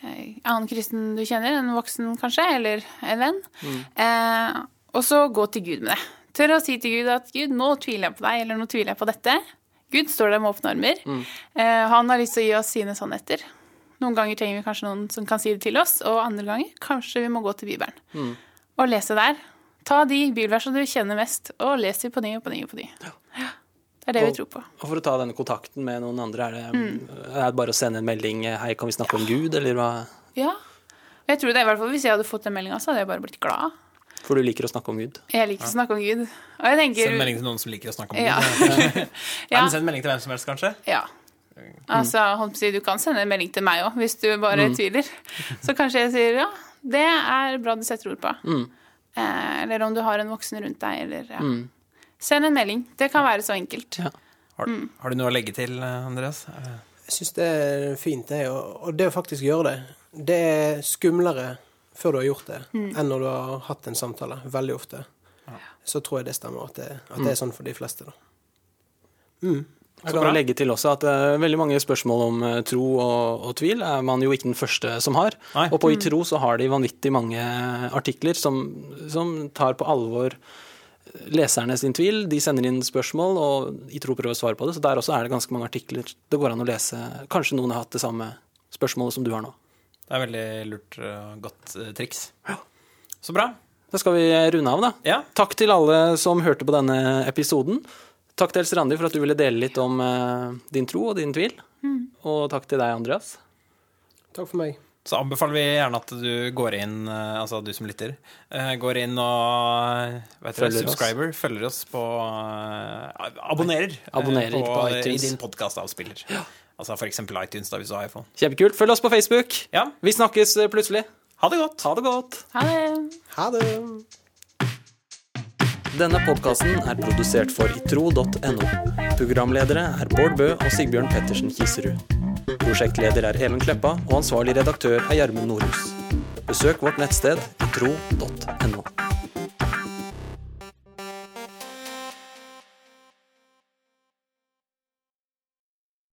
[SPEAKER 3] eh, annen kristen du kjenner, en voksen kanskje, eller en venn. Eh, og så gå til Gud med det. Tør å si til Gud at Gud, nå tviler jeg på deg, eller nå tviler jeg på dette. Gud står der med åpne armer. Eh, han har lyst til å gi oss sine sannheter. Noen ganger trenger vi kanskje noen som kan si det til oss, og andre ganger kanskje vi må gå til Bibelen og lese der. Ta de bibelversene du kjenner mest, og les de på ny og på ny og på ny. Ja. Det er det vi tror på.
[SPEAKER 2] Og for å ta denne kontakten med noen andre, er det, er det bare å sende en melding eh, 'Hei, kan vi snakke om Gud', eller hva?
[SPEAKER 3] Ja. Og jeg tror det, i hvert fall Hvis jeg hadde fått den meldinga, så hadde jeg bare blitt glad.
[SPEAKER 2] For du liker å snakke om Gud.
[SPEAKER 3] Jeg liker å snakke om Gud. Og jeg tenker
[SPEAKER 1] Send melding til noen som liker å snakke om det.
[SPEAKER 3] Ja.
[SPEAKER 1] Nei,
[SPEAKER 3] *laughs* ja.
[SPEAKER 1] men send melding til hvem som helst, kanskje.
[SPEAKER 3] ja. Altså, holdt på å si, Du kan sende en melding til meg òg, hvis du bare
[SPEAKER 1] Mm.
[SPEAKER 3] tviler. Så kanskje jeg sier ja, det er bra du setter ord på.
[SPEAKER 1] Mm.
[SPEAKER 3] Eh, eller om du har en voksen rundt deg, eller ja. Send en melding. Det kan være så enkelt.
[SPEAKER 1] Har,
[SPEAKER 3] Mm.
[SPEAKER 1] har du noe å legge til, Andreas? Eh,
[SPEAKER 4] Jeg syns det er fint, det. Og og det å faktisk gjøre det, det er skumlere før du har gjort det,
[SPEAKER 1] Mm.
[SPEAKER 4] enn når du har hatt en samtale. Veldig ofte. Så tror jeg det stemmer, at det, at det er sånn for de fleste, da.
[SPEAKER 2] Så kan jeg legge til også at eh, veldig mange spørsmål om eh, tro og, og tvil er man jo ikke den første som har.
[SPEAKER 1] Nei.
[SPEAKER 2] Og på I tro så har de vanvittig mange eh, artikler som, som tar på alvor eh, leserne sin tvil. De sender inn spørsmål, og I tro prøver å svare på det. Så der også er det ganske mange artikler det går an å lese. Kanskje noen har hatt det samme spørsmålet som du har nå.
[SPEAKER 1] Det er veldig lurt og godt eh, triks. Så bra.
[SPEAKER 2] Da skal vi eh, runde av, da.
[SPEAKER 1] Ja.
[SPEAKER 2] Takk til alle som hørte på denne episoden. Takk til Else Randi for at du ville dele litt om eh, din tro og din tvil. Og takk til deg, Andreas.
[SPEAKER 4] Takk for meg.
[SPEAKER 1] Så anbefaler vi gjerne at du går inn, eh, altså du som lytter, eh, går inn og eh, vet dere,
[SPEAKER 2] Følger oss.
[SPEAKER 1] subscriber, følger oss på eh, Abonnerer. eh,
[SPEAKER 2] Abonnerer på
[SPEAKER 1] I
[SPEAKER 2] iTunes.
[SPEAKER 1] din podkastavspiller. Altså for eksempel iTunes, da, hvis du har iPhone.
[SPEAKER 2] Kjempekult. Følg oss på Facebook.
[SPEAKER 1] Ja,
[SPEAKER 2] Vi snakkes eh, plutselig.
[SPEAKER 1] ha det godt!
[SPEAKER 2] Ha det godt.
[SPEAKER 3] Ha det.
[SPEAKER 4] Ha det.
[SPEAKER 2] Denne podkasten er produsert for itro.no. Programledere er Bård Bø og Sigbjørn Pettersen Kiserud. Prosjektleder er Even Kleppa, og ansvarlig redaktør er Gjermund Nordhus. Besøk vårt nettsted itro.no.